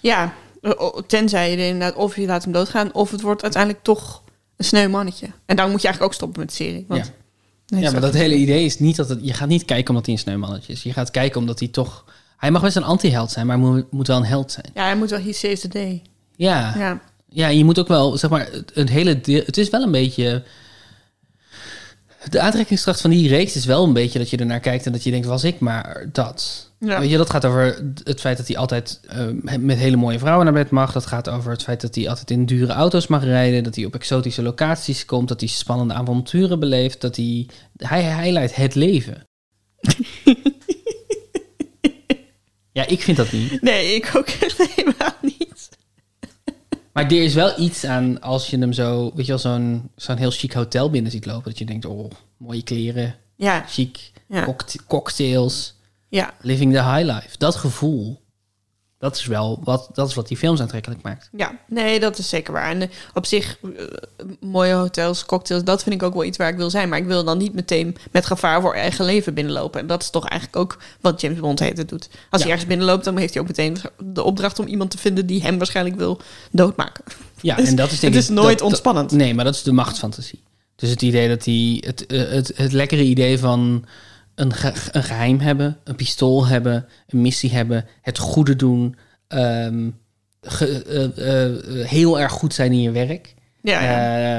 [SPEAKER 2] Ja, eh, o- tenzij je er inderdaad of je laat hem doodgaan of het wordt uiteindelijk toch een sneu mannetje. En dan moet je eigenlijk ook stoppen met de serie. Want
[SPEAKER 1] Ja.
[SPEAKER 2] Nee,
[SPEAKER 1] Ja,
[SPEAKER 2] zo-
[SPEAKER 1] maar dat hele idee is niet dat het, je gaat niet kijken omdat hij een sneeuwmannetje is. Je gaat kijken omdat hij toch. Hij mag best een anti-held zijn, maar hij moet, moet wel een held zijn.
[SPEAKER 2] Ja, hij moet wel hier saves the day.
[SPEAKER 1] Ja, ja.
[SPEAKER 2] Ja.
[SPEAKER 1] je moet ook wel, zeg maar, het, het hele. deel- Het is wel een beetje. De aantrekkingskracht van die reeks is wel een beetje dat je ernaar kijkt en dat je denkt, was ik maar dat.
[SPEAKER 2] Ja.
[SPEAKER 1] Weet je, dat gaat over het feit dat hij altijd eh, met hele mooie vrouwen naar bed mag. Dat gaat over het feit dat hij altijd in dure auto's mag rijden. Dat hij op exotische locaties komt. Dat hij spannende avonturen beleeft. Dat hij, hij, hij leidt het leven. ja, ik vind dat niet.
[SPEAKER 2] Nee, ik ook *laughs* echt helemaal niet.
[SPEAKER 1] Maar er is wel iets aan als je hem zo, weet je wel, zo'n zo'n heel chic hotel binnen ziet lopen. Dat je denkt, oh, mooie kleren,
[SPEAKER 2] Ja,
[SPEAKER 1] chic,
[SPEAKER 2] ja,
[SPEAKER 1] cockta- cocktails.
[SPEAKER 2] ja.
[SPEAKER 1] Living the high life. Dat gevoel, dat is wel wat, dat is wat die films aantrekkelijk maakt.
[SPEAKER 2] Ja, nee, dat is zeker waar. En eh, op zich, eh, mooie hotels, cocktails, dat vind ik ook wel iets waar ik wil zijn. Maar ik wil dan niet meteen met gevaar voor eigen leven binnenlopen. En dat is toch eigenlijk ook wat James Bond heet doet. Als hij
[SPEAKER 1] Ja.
[SPEAKER 2] ergens binnenloopt, dan heeft hij ook meteen de opdracht om iemand te vinden die hem waarschijnlijk wil doodmaken.
[SPEAKER 1] Ja,
[SPEAKER 2] Dus
[SPEAKER 1] en dat is denk
[SPEAKER 2] het is
[SPEAKER 1] ik-
[SPEAKER 2] nooit
[SPEAKER 1] dat- dat-
[SPEAKER 2] ontspannend.
[SPEAKER 1] Nee, maar dat is de machtsfantasie. Dus het idee dat hij... Het, eh, het, het lekkere idee van een, ge- een geheim hebben, een pistool hebben, een missie hebben, het goede doen, ehm, ge- eh, eh, heel erg goed zijn in je werk.
[SPEAKER 2] Ja,
[SPEAKER 1] Eh,
[SPEAKER 2] ja.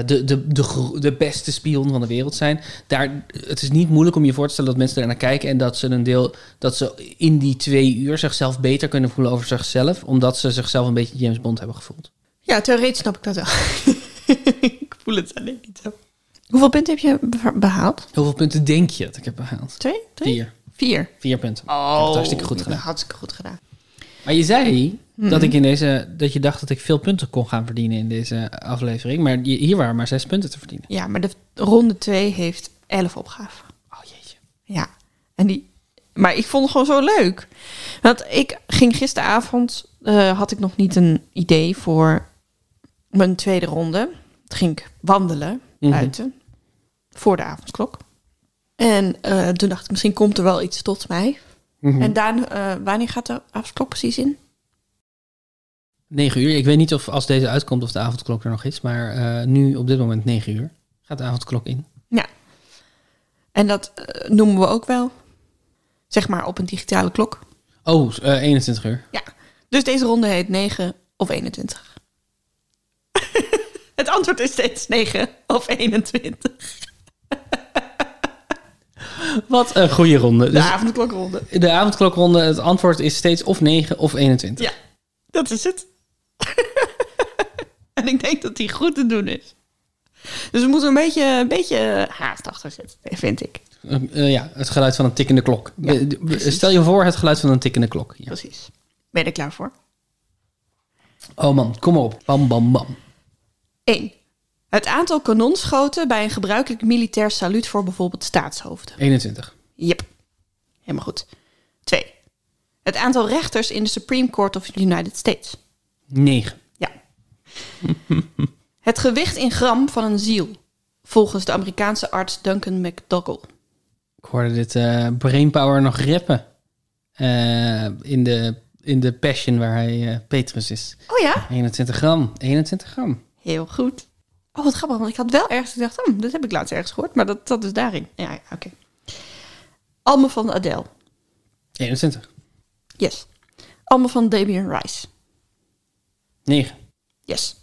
[SPEAKER 1] eh, de, de, de, gro- de beste spion van de wereld zijn. Daar, het is niet moeilijk om je voor te stellen dat mensen er naar kijken en dat ze een deel dat ze in die twee uur zichzelf beter kunnen voelen over zichzelf, omdat ze zichzelf een beetje James Bond hebben gevoeld.
[SPEAKER 2] ja, theoretisch snap ik dat wel. *laughs* ik voel het alleen niet zo. Hoeveel punten heb je beva- behaald?
[SPEAKER 1] Hoeveel punten denk je dat ik heb behaald?
[SPEAKER 2] Twee? Drie?
[SPEAKER 1] Vier.
[SPEAKER 2] Vier.
[SPEAKER 1] Vier punten. Ik heb
[SPEAKER 2] Oh,
[SPEAKER 1] het hartstikke goed gedaan.
[SPEAKER 2] Hartstikke goed gedaan.
[SPEAKER 1] Maar je zei dat ik in deze dat je dacht dat ik veel punten kon gaan verdienen in deze aflevering, maar je- hier waren maar zes punten te verdienen.
[SPEAKER 2] Ja, maar de ronde twee heeft elf opgaven.
[SPEAKER 1] Oh jeetje.
[SPEAKER 2] Ja, en die. Maar ik vond het gewoon zo leuk. Want ik ging gisteravond, eh, had ik nog niet een idee voor mijn tweede ronde. Toen ging ik wandelen
[SPEAKER 1] Mhm.
[SPEAKER 2] buiten voor de avondklok. En eh, toen dacht ik, misschien komt er wel iets tot mij.
[SPEAKER 1] Mhm.
[SPEAKER 2] En Daan, eh, wanneer gaat de avondklok precies in?
[SPEAKER 1] Negen uur. Ik weet niet of als deze uitkomt of de avondklok er nog is. Maar eh, nu op dit moment 9 uur gaat de avondklok in.
[SPEAKER 2] En dat eh, noemen we ook wel, zeg maar, op een digitale klok.
[SPEAKER 1] Oh, eh, 21 uur.
[SPEAKER 2] Ja. Dus deze ronde heet 9 of 21. *laughs* Het antwoord is steeds 9 of 21.
[SPEAKER 1] *laughs* Wat een goede ronde.
[SPEAKER 2] De
[SPEAKER 1] Dus
[SPEAKER 2] avondklokronde.
[SPEAKER 1] de avondklokronde, het antwoord is steeds of 9 of 21.
[SPEAKER 2] Ja, dat is het. *laughs* en ik denk dat die goed te doen is. Dus we moeten een beetje, een beetje haast achter zitten, vind ik.
[SPEAKER 1] Eh, eh, ja, het geluid van een tikkende klok. Eh, d-
[SPEAKER 2] precies.
[SPEAKER 1] Stel je voor het geluid van een tikkende klok. Ja.
[SPEAKER 2] Precies. Ben je er klaar voor?
[SPEAKER 1] Oh man, kom maar op. Bam, bam, bam.
[SPEAKER 2] 1. Het aantal kanonschoten bij een gebruikelijk militair saluut voor bijvoorbeeld staatshoofden.
[SPEAKER 1] 21.
[SPEAKER 2] Yep. Helemaal goed. 2. Het aantal rechters in de Supreme Court of the United States.
[SPEAKER 1] 9.
[SPEAKER 2] Ja. Het gewicht in gram van een ziel, volgens de Amerikaanse arts Duncan McDougall.
[SPEAKER 1] Ik hoorde dit eh, Brainpower nog rappen. Eh, in, de, in de Passion waar hij eh, Petrus is.
[SPEAKER 2] Oh ja?
[SPEAKER 1] 21 gram. 21 gram.
[SPEAKER 2] Heel goed. Oh, wat grappig, want ik had wel ergens gedacht, hm, dat heb ik laatst ergens gehoord, maar dat zat dus daarin. Ja, ja oké. Alma van Adele.
[SPEAKER 1] 21.
[SPEAKER 2] Yes. Alma van Damien Rice.
[SPEAKER 1] 9.
[SPEAKER 2] Yes.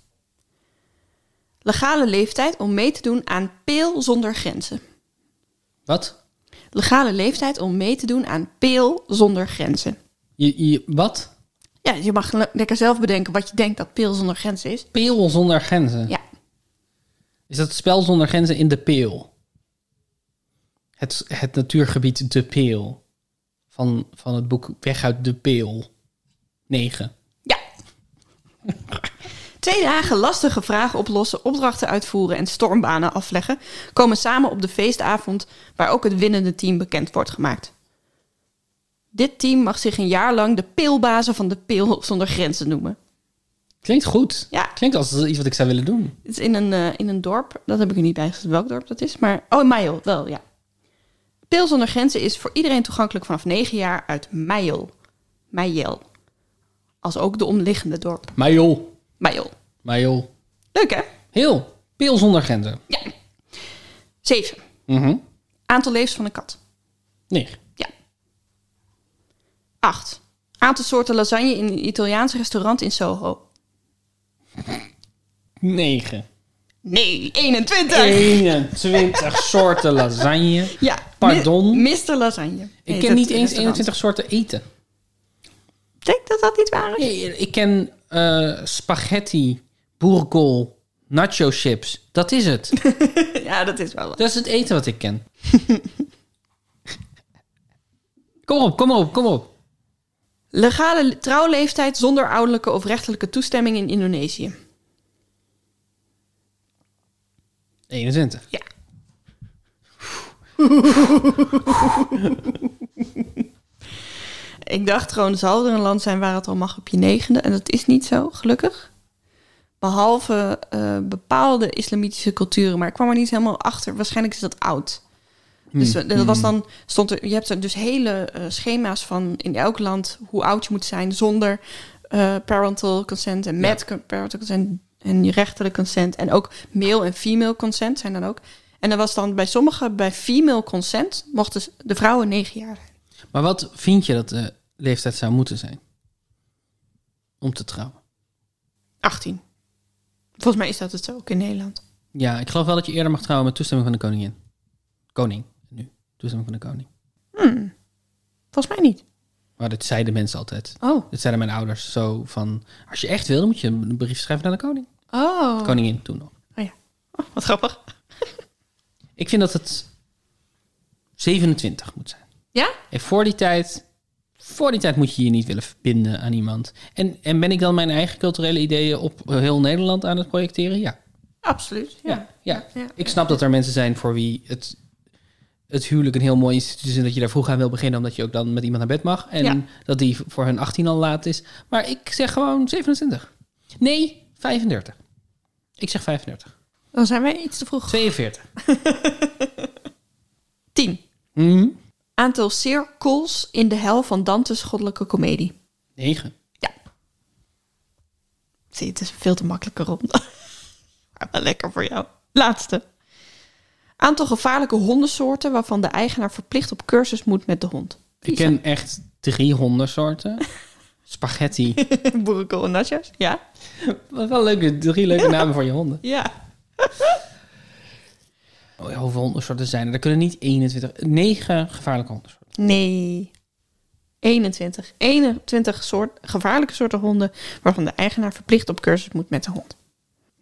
[SPEAKER 2] Legale leeftijd om mee te doen aan Peel zonder grenzen.
[SPEAKER 1] Wat?
[SPEAKER 2] Legale leeftijd om mee te doen aan Peel zonder grenzen.
[SPEAKER 1] Je, je, wat?
[SPEAKER 2] Ja, je mag le- lekker zelf bedenken wat je denkt dat Peel zonder grenzen is.
[SPEAKER 1] Peel zonder grenzen.
[SPEAKER 2] Ja,
[SPEAKER 1] Is dat het spel zonder grenzen in de peel? Het, het natuurgebied de peel. Van, van het boek Weg uit de peel. 9.
[SPEAKER 2] ja. Twee dagen lastige vragen oplossen, opdrachten uitvoeren en stormbanen afleggen komen samen op de feestavond waar ook het winnende team bekend wordt gemaakt. Dit team mag zich een jaar lang de peelbazen van de peel zonder grenzen noemen.
[SPEAKER 1] Klinkt goed.
[SPEAKER 2] Ja.
[SPEAKER 1] Klinkt als iets wat ik zou willen doen.
[SPEAKER 2] Het is in een, eh, in een dorp. Dat heb ik er niet bij gezet welk dorp dat is. Maar, oh, in Meijel, wel, ja. Pil zonder grenzen is voor iedereen toegankelijk vanaf 9 jaar uit Meijel. Meijel. Als ook de omliggende dorp.
[SPEAKER 1] Maar joh.
[SPEAKER 2] Meijel.
[SPEAKER 1] Maar joh.
[SPEAKER 2] Leuk, hè?
[SPEAKER 1] Heel. Peel zonder grenzen.
[SPEAKER 2] Ja. 7.
[SPEAKER 1] Mhm.
[SPEAKER 2] Aantal levens van een kat.
[SPEAKER 1] 9.
[SPEAKER 2] Ja. 8. Aantal soorten lasagne in een Italiaans restaurant in Soho.
[SPEAKER 1] 9.
[SPEAKER 2] Nee, 21.
[SPEAKER 1] 21 *laughs* soorten lasagne.
[SPEAKER 2] Ja.
[SPEAKER 1] Pardon?
[SPEAKER 2] Mi- Mr. Lasagne.
[SPEAKER 1] Ik
[SPEAKER 2] heet
[SPEAKER 1] ken
[SPEAKER 2] het
[SPEAKER 1] niet eens
[SPEAKER 2] restaurant.
[SPEAKER 1] 21 soorten eten.
[SPEAKER 2] Ik denk dat dat niet waar is.
[SPEAKER 1] Nee, Ik ken eh, spaghetti, boerenkool, nacho chips. Dat is het.
[SPEAKER 2] Ja, dat is wel waar.
[SPEAKER 1] Dat is het eten wat ik ken. kom op, kom op, kom op.
[SPEAKER 2] Legale le- trouwleeftijd zonder ouderlijke of rechterlijke toestemming in Indonesië.
[SPEAKER 1] 21.
[SPEAKER 2] Ja. *laughs* Ik dacht gewoon, zal er een land zijn waar het al mag op je negende? En dat is niet zo, gelukkig. Behalve eh, bepaalde islamitische culturen. Maar ik kwam er niet helemaal achter. Waarschijnlijk is dat oud. Dus we- dat was dan, stond er, je hebt er dus hele eh, schema's van in elk land hoe oud je moet zijn zonder eh, parental consent en met co- parental consent en je rechterlijk consent. En ook male en female consent zijn dan ook. En dan was dan bij sommigen, bij female consent, mochten s- de vrouwen negen jaar zijn.
[SPEAKER 1] Maar wat vind je dat de leeftijd zou moeten zijn? Om te trouwen.
[SPEAKER 2] 18. Volgens mij is dat het zo ook in Nederland.
[SPEAKER 1] Ja, ik geloof wel dat je eerder mag trouwen met toestemming van de koningin. Koning, nu. Toestemming van de koning.
[SPEAKER 2] Volgens mij niet.
[SPEAKER 1] Maar dat zeiden mensen altijd.
[SPEAKER 2] Oh.
[SPEAKER 1] Dat zeiden mijn ouders zo van... Als je echt wil, moet je een brief schrijven naar de koning.
[SPEAKER 2] Oh.
[SPEAKER 1] Koningin toen nog.
[SPEAKER 2] oh ja. Oh, wat grappig.
[SPEAKER 1] Ik vind dat het 27 moet zijn.
[SPEAKER 2] Ja?
[SPEAKER 1] En voor die tijd, voor die tijd moet je je niet willen verbinden aan iemand. En, en ben ik dan mijn eigen culturele ideeën op eh, heel Nederland aan het projecteren? Ja.
[SPEAKER 2] Absoluut.
[SPEAKER 1] Ja, ja.
[SPEAKER 2] Ja.
[SPEAKER 1] Ik snap dat er mensen zijn voor wie het, het huwelijk een heel mooi instituut is... en dat je daar vroeg aan wil beginnen... omdat je ook dan met iemand naar bed mag. En
[SPEAKER 2] Ja.
[SPEAKER 1] dat die voor hun 18 al laat is. Maar ik zeg gewoon 27. Nee, 35. Ik zeg 35.
[SPEAKER 2] Dan zijn wij iets te vroeg.
[SPEAKER 1] 42.
[SPEAKER 2] 10.
[SPEAKER 1] Mhm.
[SPEAKER 2] Aantal cirkels in de hel van Dante's goddelijke komedie.
[SPEAKER 1] 9.
[SPEAKER 2] Ja. Zie, *laughs* het is een veel te makkelijke ronde. Maar wel lekker voor jou. Laatste. Aantal gevaarlijke hondensoorten waarvan de eigenaar verplicht op cursus moet met de hond.
[SPEAKER 1] Ik ken echt drie hondensoorten. Spaghetti.
[SPEAKER 2] *laughs* Boerenkool en nachos. Ja.
[SPEAKER 1] Wat wel leuke, drie leuke namen voor je honden.
[SPEAKER 2] Ja.
[SPEAKER 1] Oh ja, hoeveel hondensoorten zijn er? Er kunnen niet 21, 9 gevaarlijke hondensoorten.
[SPEAKER 2] Nee. 21. 21 soort, gevaarlijke soorten honden waarvan de eigenaar verplicht op cursus moet met de hond.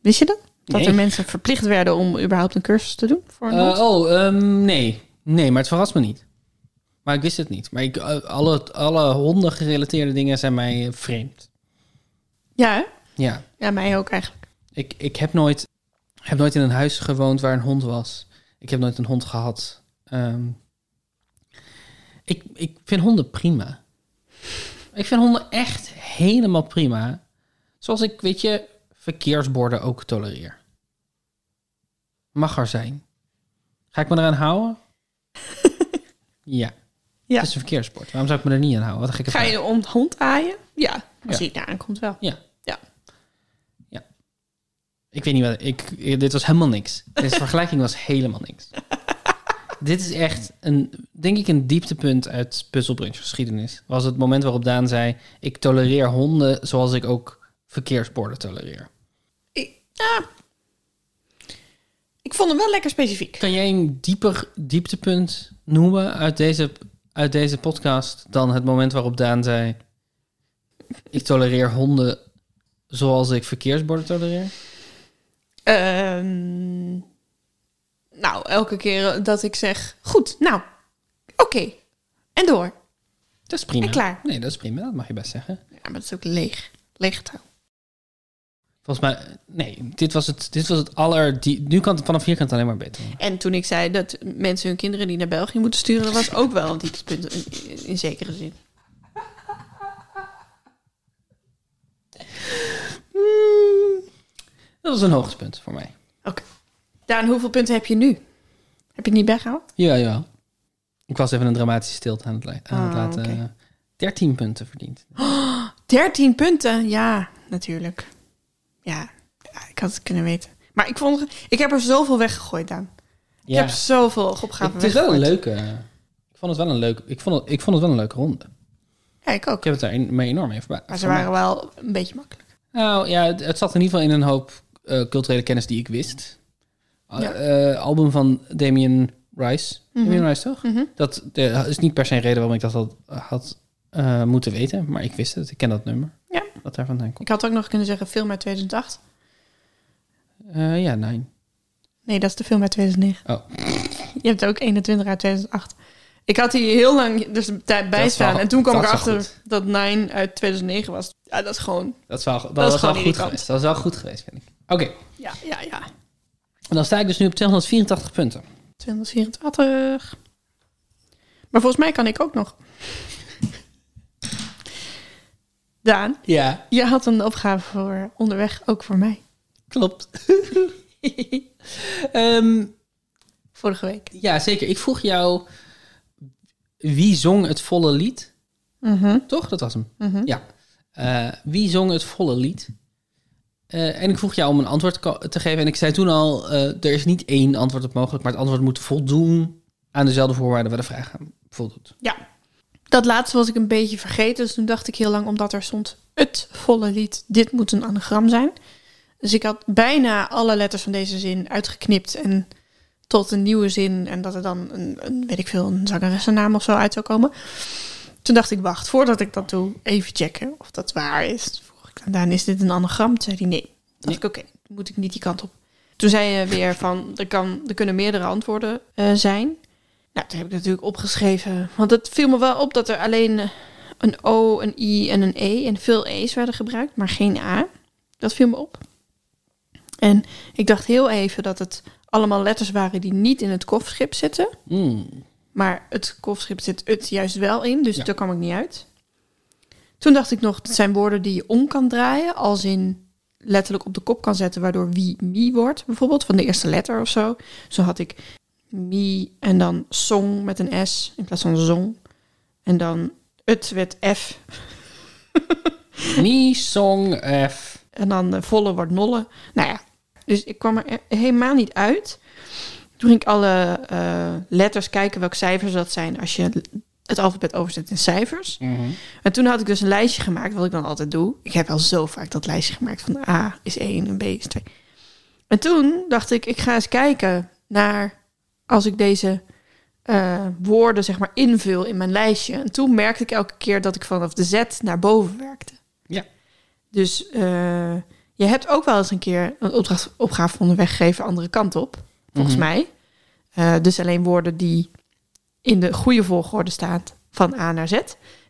[SPEAKER 2] Wist je dat? Dat
[SPEAKER 1] Nee.
[SPEAKER 2] er mensen verplicht werden om überhaupt een cursus te doen voor een hond?
[SPEAKER 1] Eh, oh, ehm, nee. Nee, maar het verrast me niet. Maar ik wist het niet. Maar ik, eh, alle, alle honden gerelateerde dingen zijn mij eh, vreemd.
[SPEAKER 2] Ja, hè?
[SPEAKER 1] Ja.
[SPEAKER 2] ja, mij ook eigenlijk.
[SPEAKER 1] Ik, ik heb, nooit, heb nooit in een huis gewoond waar een hond was. Ik heb nooit een hond gehad. Ehm, ik, ik vind honden prima. Ik vind honden echt helemaal prima. Zoals ik, weet je, verkeersborden ook tolereer. Mag er zijn. Ga ik me eraan
[SPEAKER 2] *laughs*
[SPEAKER 1] houden? ja.
[SPEAKER 2] Ja.
[SPEAKER 1] Het is een verkeersbord. Waarom zou ik me er niet aan houden? Wat een gekke
[SPEAKER 2] Ga je om de hond aaien? Ja, als
[SPEAKER 1] Ja.
[SPEAKER 2] hij daar aankomt wel.
[SPEAKER 1] Ja.
[SPEAKER 2] Ja.
[SPEAKER 1] Ja. Ik weet niet wat... Ik, ik- dit was helemaal niks. Deze vergelijking was helemaal niks. dit is echt, een, denk ik, een dieptepunt uit Puzzlebrunch geschiedenis. Was het moment waarop Daan zei... Ik tolereer honden zoals ik ook verkeersborden tolereer.
[SPEAKER 2] Ik, ja. ik vond hem wel lekker specifiek.
[SPEAKER 1] Kan jij een dieper dieptepunt noemen uit deze, uit deze podcast... dan het moment waarop Daan zei... Ik tolereer honden zoals ik verkeersborden tolereer?
[SPEAKER 2] Ehm, nou, elke keer dat ik zeg, goed, nou, oké, en door.
[SPEAKER 1] Dat is prima.
[SPEAKER 2] En klaar.
[SPEAKER 1] Nee, dat is prima. Dat mag je best zeggen.
[SPEAKER 2] Ja, maar dat is ook leeg. Leeg taal.
[SPEAKER 1] Volgens mij, nee, dit was het, dit was het aller... Die, nu kan het vanaf hier kan het alleen maar beter.
[SPEAKER 2] En toen ik zei dat mensen hun kinderen niet naar België moeten sturen, dat was ook wel een dieptepunt in, in- in zekere zin.
[SPEAKER 1] Dat was een hoogtepunt voor mij.
[SPEAKER 2] Oké. Daan, hoeveel punten heb je nu? Heb je het niet bijgehouden?
[SPEAKER 1] Ja, ja. Ik was even een dramatische stilte aan het, li- aan het
[SPEAKER 2] Ah,
[SPEAKER 1] laten.
[SPEAKER 2] oké.
[SPEAKER 1] 13 punten verdiend.
[SPEAKER 2] 13 punten, ja, natuurlijk. Ja, ja, ik had het kunnen weten. Maar ik, vond, ik heb er zoveel weggegooid, Daan. Ik
[SPEAKER 1] Ja,
[SPEAKER 2] heb zoveel opgaven
[SPEAKER 1] het is wel een
[SPEAKER 2] weggegooid.
[SPEAKER 1] leuke... Ik vond het wel een leuke, ik vond het, ik vond het wel een leuke ronde.
[SPEAKER 2] Ja, ik ook.
[SPEAKER 1] Ik heb het daar en- me enorm mee verbaasd.
[SPEAKER 2] Maar ze waren wel een beetje makkelijk.
[SPEAKER 1] Nou ja, het, het zat in ieder geval in een hoop eh, culturele kennis die ik wist. Al-
[SPEAKER 2] Ja.
[SPEAKER 1] eh, album van Damien Rice. Damien Rice toch?
[SPEAKER 2] Mhm.
[SPEAKER 1] Dat eh, is niet per se een reden waarom ik dat had, had eh, moeten weten. Maar ik wist het. Ik ken dat nummer.
[SPEAKER 2] Ja.
[SPEAKER 1] Dat daar vandaan komt.
[SPEAKER 2] Ik had ook nog kunnen zeggen film uit 2008.
[SPEAKER 1] Eh, ja, nee.
[SPEAKER 2] Nee, dat is de film uit 2009.
[SPEAKER 1] Oh.
[SPEAKER 2] Je hebt ook 21 uit 2008. Ik had die heel lang dus tijd bij
[SPEAKER 1] is wel-
[SPEAKER 2] staan. En toen kwam
[SPEAKER 1] dat
[SPEAKER 2] ik
[SPEAKER 1] is wel
[SPEAKER 2] erachter dat Nine uit 2009 was. Ja, dat is gewoon...
[SPEAKER 1] Dat is wel, dat
[SPEAKER 2] is
[SPEAKER 1] was wel
[SPEAKER 2] gewoon
[SPEAKER 1] goed
[SPEAKER 2] irritant.
[SPEAKER 1] geweest. Dat is wel goed geweest, vind ik. Oké.
[SPEAKER 2] Ja, ja, ja.
[SPEAKER 1] En dan sta ik dus nu op 284 punten.
[SPEAKER 2] 2024. Maar volgens mij kan ik ook nog. Daan,
[SPEAKER 1] Ja.
[SPEAKER 2] je had een opgave voor onderweg, ook voor mij.
[SPEAKER 1] Klopt. *laughs* Ehm,
[SPEAKER 2] Vorige week.
[SPEAKER 1] ja, zeker. Ik vroeg jou... Wie zong het volle lied?
[SPEAKER 2] Mhm,
[SPEAKER 1] Toch? Dat was hem.
[SPEAKER 2] mhm.
[SPEAKER 1] Ja. Eh, wie zong het volle lied? Eh, en ik vroeg jou om een antwoord ko- te geven. En ik zei toen al, eh, er is niet één antwoord op mogelijk, maar het antwoord moet voldoen aan dezelfde voorwaarden waar de vraag aan voldoet.
[SPEAKER 2] Ja. Dat laatste was ik een beetje vergeten. Dus toen dacht ik heel lang, omdat er stond het volle lied, dit moet een anagram zijn. Dus ik had bijna alle letters van deze zin uitgeknipt en tot een nieuwe zin. En dat er dan een, een weet ik veel, een zangeressennaam of zo uit zou komen. Toen dacht ik, wacht, voordat ik dat doe, even checken of dat waar is. Vroeg ik aan Daan, is dit een anagram? Toen zei hij nee. Toen dacht
[SPEAKER 1] Nee.
[SPEAKER 2] ik, oké, moet ik niet die kant op. Toen zei je weer van, er, kan, er kunnen meerdere antwoorden eh, zijn. Nou, dat heb ik natuurlijk opgeschreven. Want het viel me wel op dat er alleen eh, een O, een I en een E en veel E's werden gebruikt, maar geen A. Dat viel me op. En ik dacht heel even dat het allemaal letters waren die niet in het kofschip zitten.
[SPEAKER 1] Mm.
[SPEAKER 2] Maar het kofschip zit het juist wel in, dus
[SPEAKER 1] Ja.
[SPEAKER 2] daar kwam ik niet uit. Toen dacht ik nog, het zijn woorden die je om kan draaien, als in letterlijk op de kop kan zetten, waardoor wie mi wordt, bijvoorbeeld van de eerste letter of zo. Zo had ik mi en dan song met een s in plaats van zong. En dan het werd f
[SPEAKER 1] Me song F.
[SPEAKER 2] en dan eh, volle wordt nolle. Nou ja, dus ik kwam er e- helemaal niet uit. Toen ging ik alle eh, letters kijken welke cijfers dat zijn als je het alfabet overzet in cijfers. En toen had ik dus een lijstje gemaakt, wat ik dan altijd doe. Ik heb al zo vaak dat lijstje gemaakt van A is 1 en B is 2. En toen dacht ik, ik ga eens kijken naar als ik deze eh, woorden zeg maar invul in mijn lijstje. En toen merkte ik elke keer dat ik vanaf de Z naar boven werkte.
[SPEAKER 1] Ja.
[SPEAKER 2] Dus eh, je hebt ook wel eens een keer een opdracht, opgave onderweg gegeven andere kant op, volgens mij. Eh, dus alleen woorden die in de goede volgorde staan van A naar Z.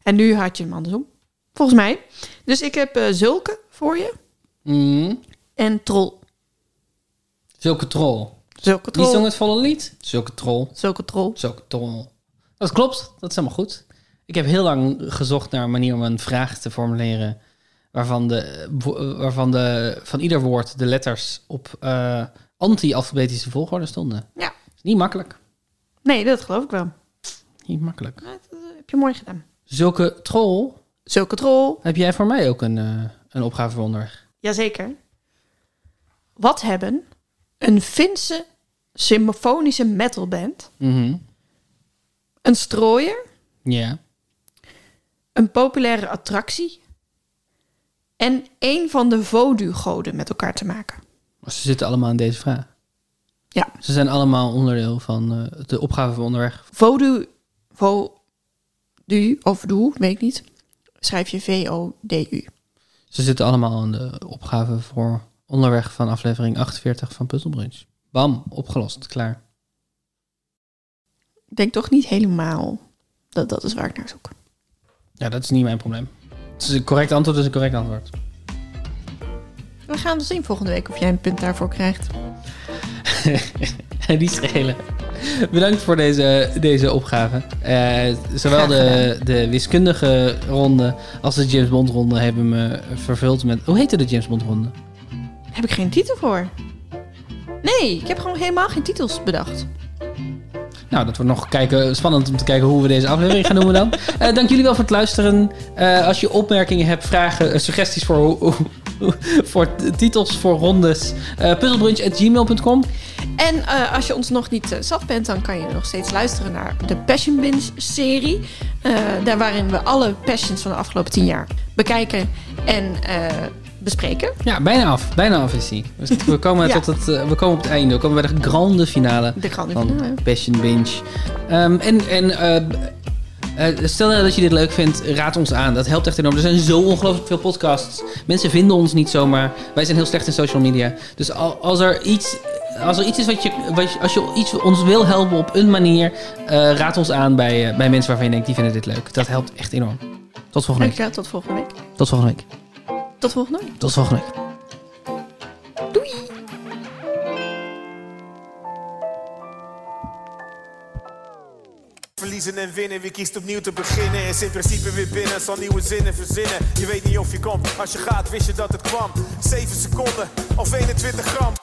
[SPEAKER 2] En nu had je hem andersom, volgens mij. Dus ik heb eh, zulke voor je
[SPEAKER 1] Mhm.
[SPEAKER 2] en trol.
[SPEAKER 1] Zulke troll. Wie
[SPEAKER 2] Zulke trol.
[SPEAKER 1] zong het volle lied? Zulke troll.
[SPEAKER 2] Zulke trol.
[SPEAKER 1] Zulke troll. Dat klopt, dat is helemaal goed. Ik heb heel lang gezocht naar een manier om een vraag te formuleren... waarvan, de, eh, wo- waarvan de, van ieder woord de letters op eh, anti-alfabetische volgorde stonden.
[SPEAKER 2] Ja.
[SPEAKER 1] Is niet makkelijk.
[SPEAKER 2] Nee, dat geloof ik wel.
[SPEAKER 1] Niet makkelijk.
[SPEAKER 2] Maar dat eh, heb je mooi gedaan.
[SPEAKER 1] Zulke troll,
[SPEAKER 2] Zulke trol.
[SPEAKER 1] heb jij voor mij ook een, eh, een opgave voor onderweg?
[SPEAKER 2] Jazeker. Wat hebben een Finse symfonische metalband,
[SPEAKER 1] Mhm.
[SPEAKER 2] een strooier,
[SPEAKER 1] Ja.
[SPEAKER 2] een populaire attractie en een van de voodoo-goden met elkaar te maken?
[SPEAKER 1] Maar Ze zitten allemaal in deze vraag.
[SPEAKER 2] Ja.
[SPEAKER 1] Ze zijn allemaal onderdeel van eh, de opgave voor onderweg.
[SPEAKER 2] Voodoo, voodoo of doe, weet ik niet. Schrijf je V-O-D-U.
[SPEAKER 1] Ze zitten allemaal in de opgave voor onderweg van aflevering 48 van Puzzle Brunch. Bam, opgelost, klaar.
[SPEAKER 2] Ik denk toch niet helemaal dat dat is waar ik naar zoek.
[SPEAKER 1] Ja, dat is niet mijn probleem. Het is een correct antwoord, is een correct antwoord. *laughs*
[SPEAKER 2] We gaan dus zien volgende week of jij een punt daarvoor krijgt.
[SPEAKER 1] Die schelen. Bedankt voor deze, deze opgave. Eh, zowel
[SPEAKER 2] Graag
[SPEAKER 1] de, de wiskundige ronde als de James Bond ronde hebben me vervuld met... Hoe heette de James Bond ronde?
[SPEAKER 2] Heb ik geen titel voor? Nee, ik heb gewoon helemaal geen titels bedacht.
[SPEAKER 1] Nou, dat wordt nog kijken, spannend om te kijken hoe we deze aflevering gaan noemen dan. Eh, dank jullie wel voor het luisteren. Eh, als je opmerkingen hebt, vragen, eh, suggesties voor, hoe- hoe- hoe- *laughs* voor t- titels, voor rondes, eh puzzlebrunch.gmail.com.
[SPEAKER 2] En eh, als je ons nog niet eh, zat bent, dan kan je nog steeds luisteren naar de Passion Binge serie. Eh, daar waarin we alle passions van de afgelopen tien jaar bekijken en eh, bespreken.
[SPEAKER 1] Ja, bijna af. Bijna af is die. Dus we komen,
[SPEAKER 2] Ja.
[SPEAKER 1] tot het, eh, we komen op het einde. We komen bij de grande finale
[SPEAKER 2] De Nou grande
[SPEAKER 1] van
[SPEAKER 2] finale.
[SPEAKER 1] Passion Binge. Ehm, en en eh, eh, stel nou dat je dit leuk vindt, raad ons aan. Dat helpt echt enorm. Er zijn zo ongelooflijk veel podcasts. Mensen vinden ons niet zomaar. Wij zijn heel slecht in social media. Dus al- als er iets... Als er iets is wat je, wat je- als je iets ons wil helpen op een manier, eh, raad ons aan bij, eh, bij mensen waarvan je denkt, die vinden dit leuk. Dat helpt echt enorm. Tot volgende week.
[SPEAKER 2] Dankjewel, tot volgende week.
[SPEAKER 1] Tot volgende week.
[SPEAKER 2] Tot volgende week.
[SPEAKER 1] Tot volgende week.
[SPEAKER 2] Doei!
[SPEAKER 3] Verliezen en winnen, weer kiest opnieuw te beginnen. Is in principe weer binnen, zal nieuwe zinnen verzinnen. Je weet niet of je komt, als je gaat wist je dat het kwam. 7 seconden of 21 gram.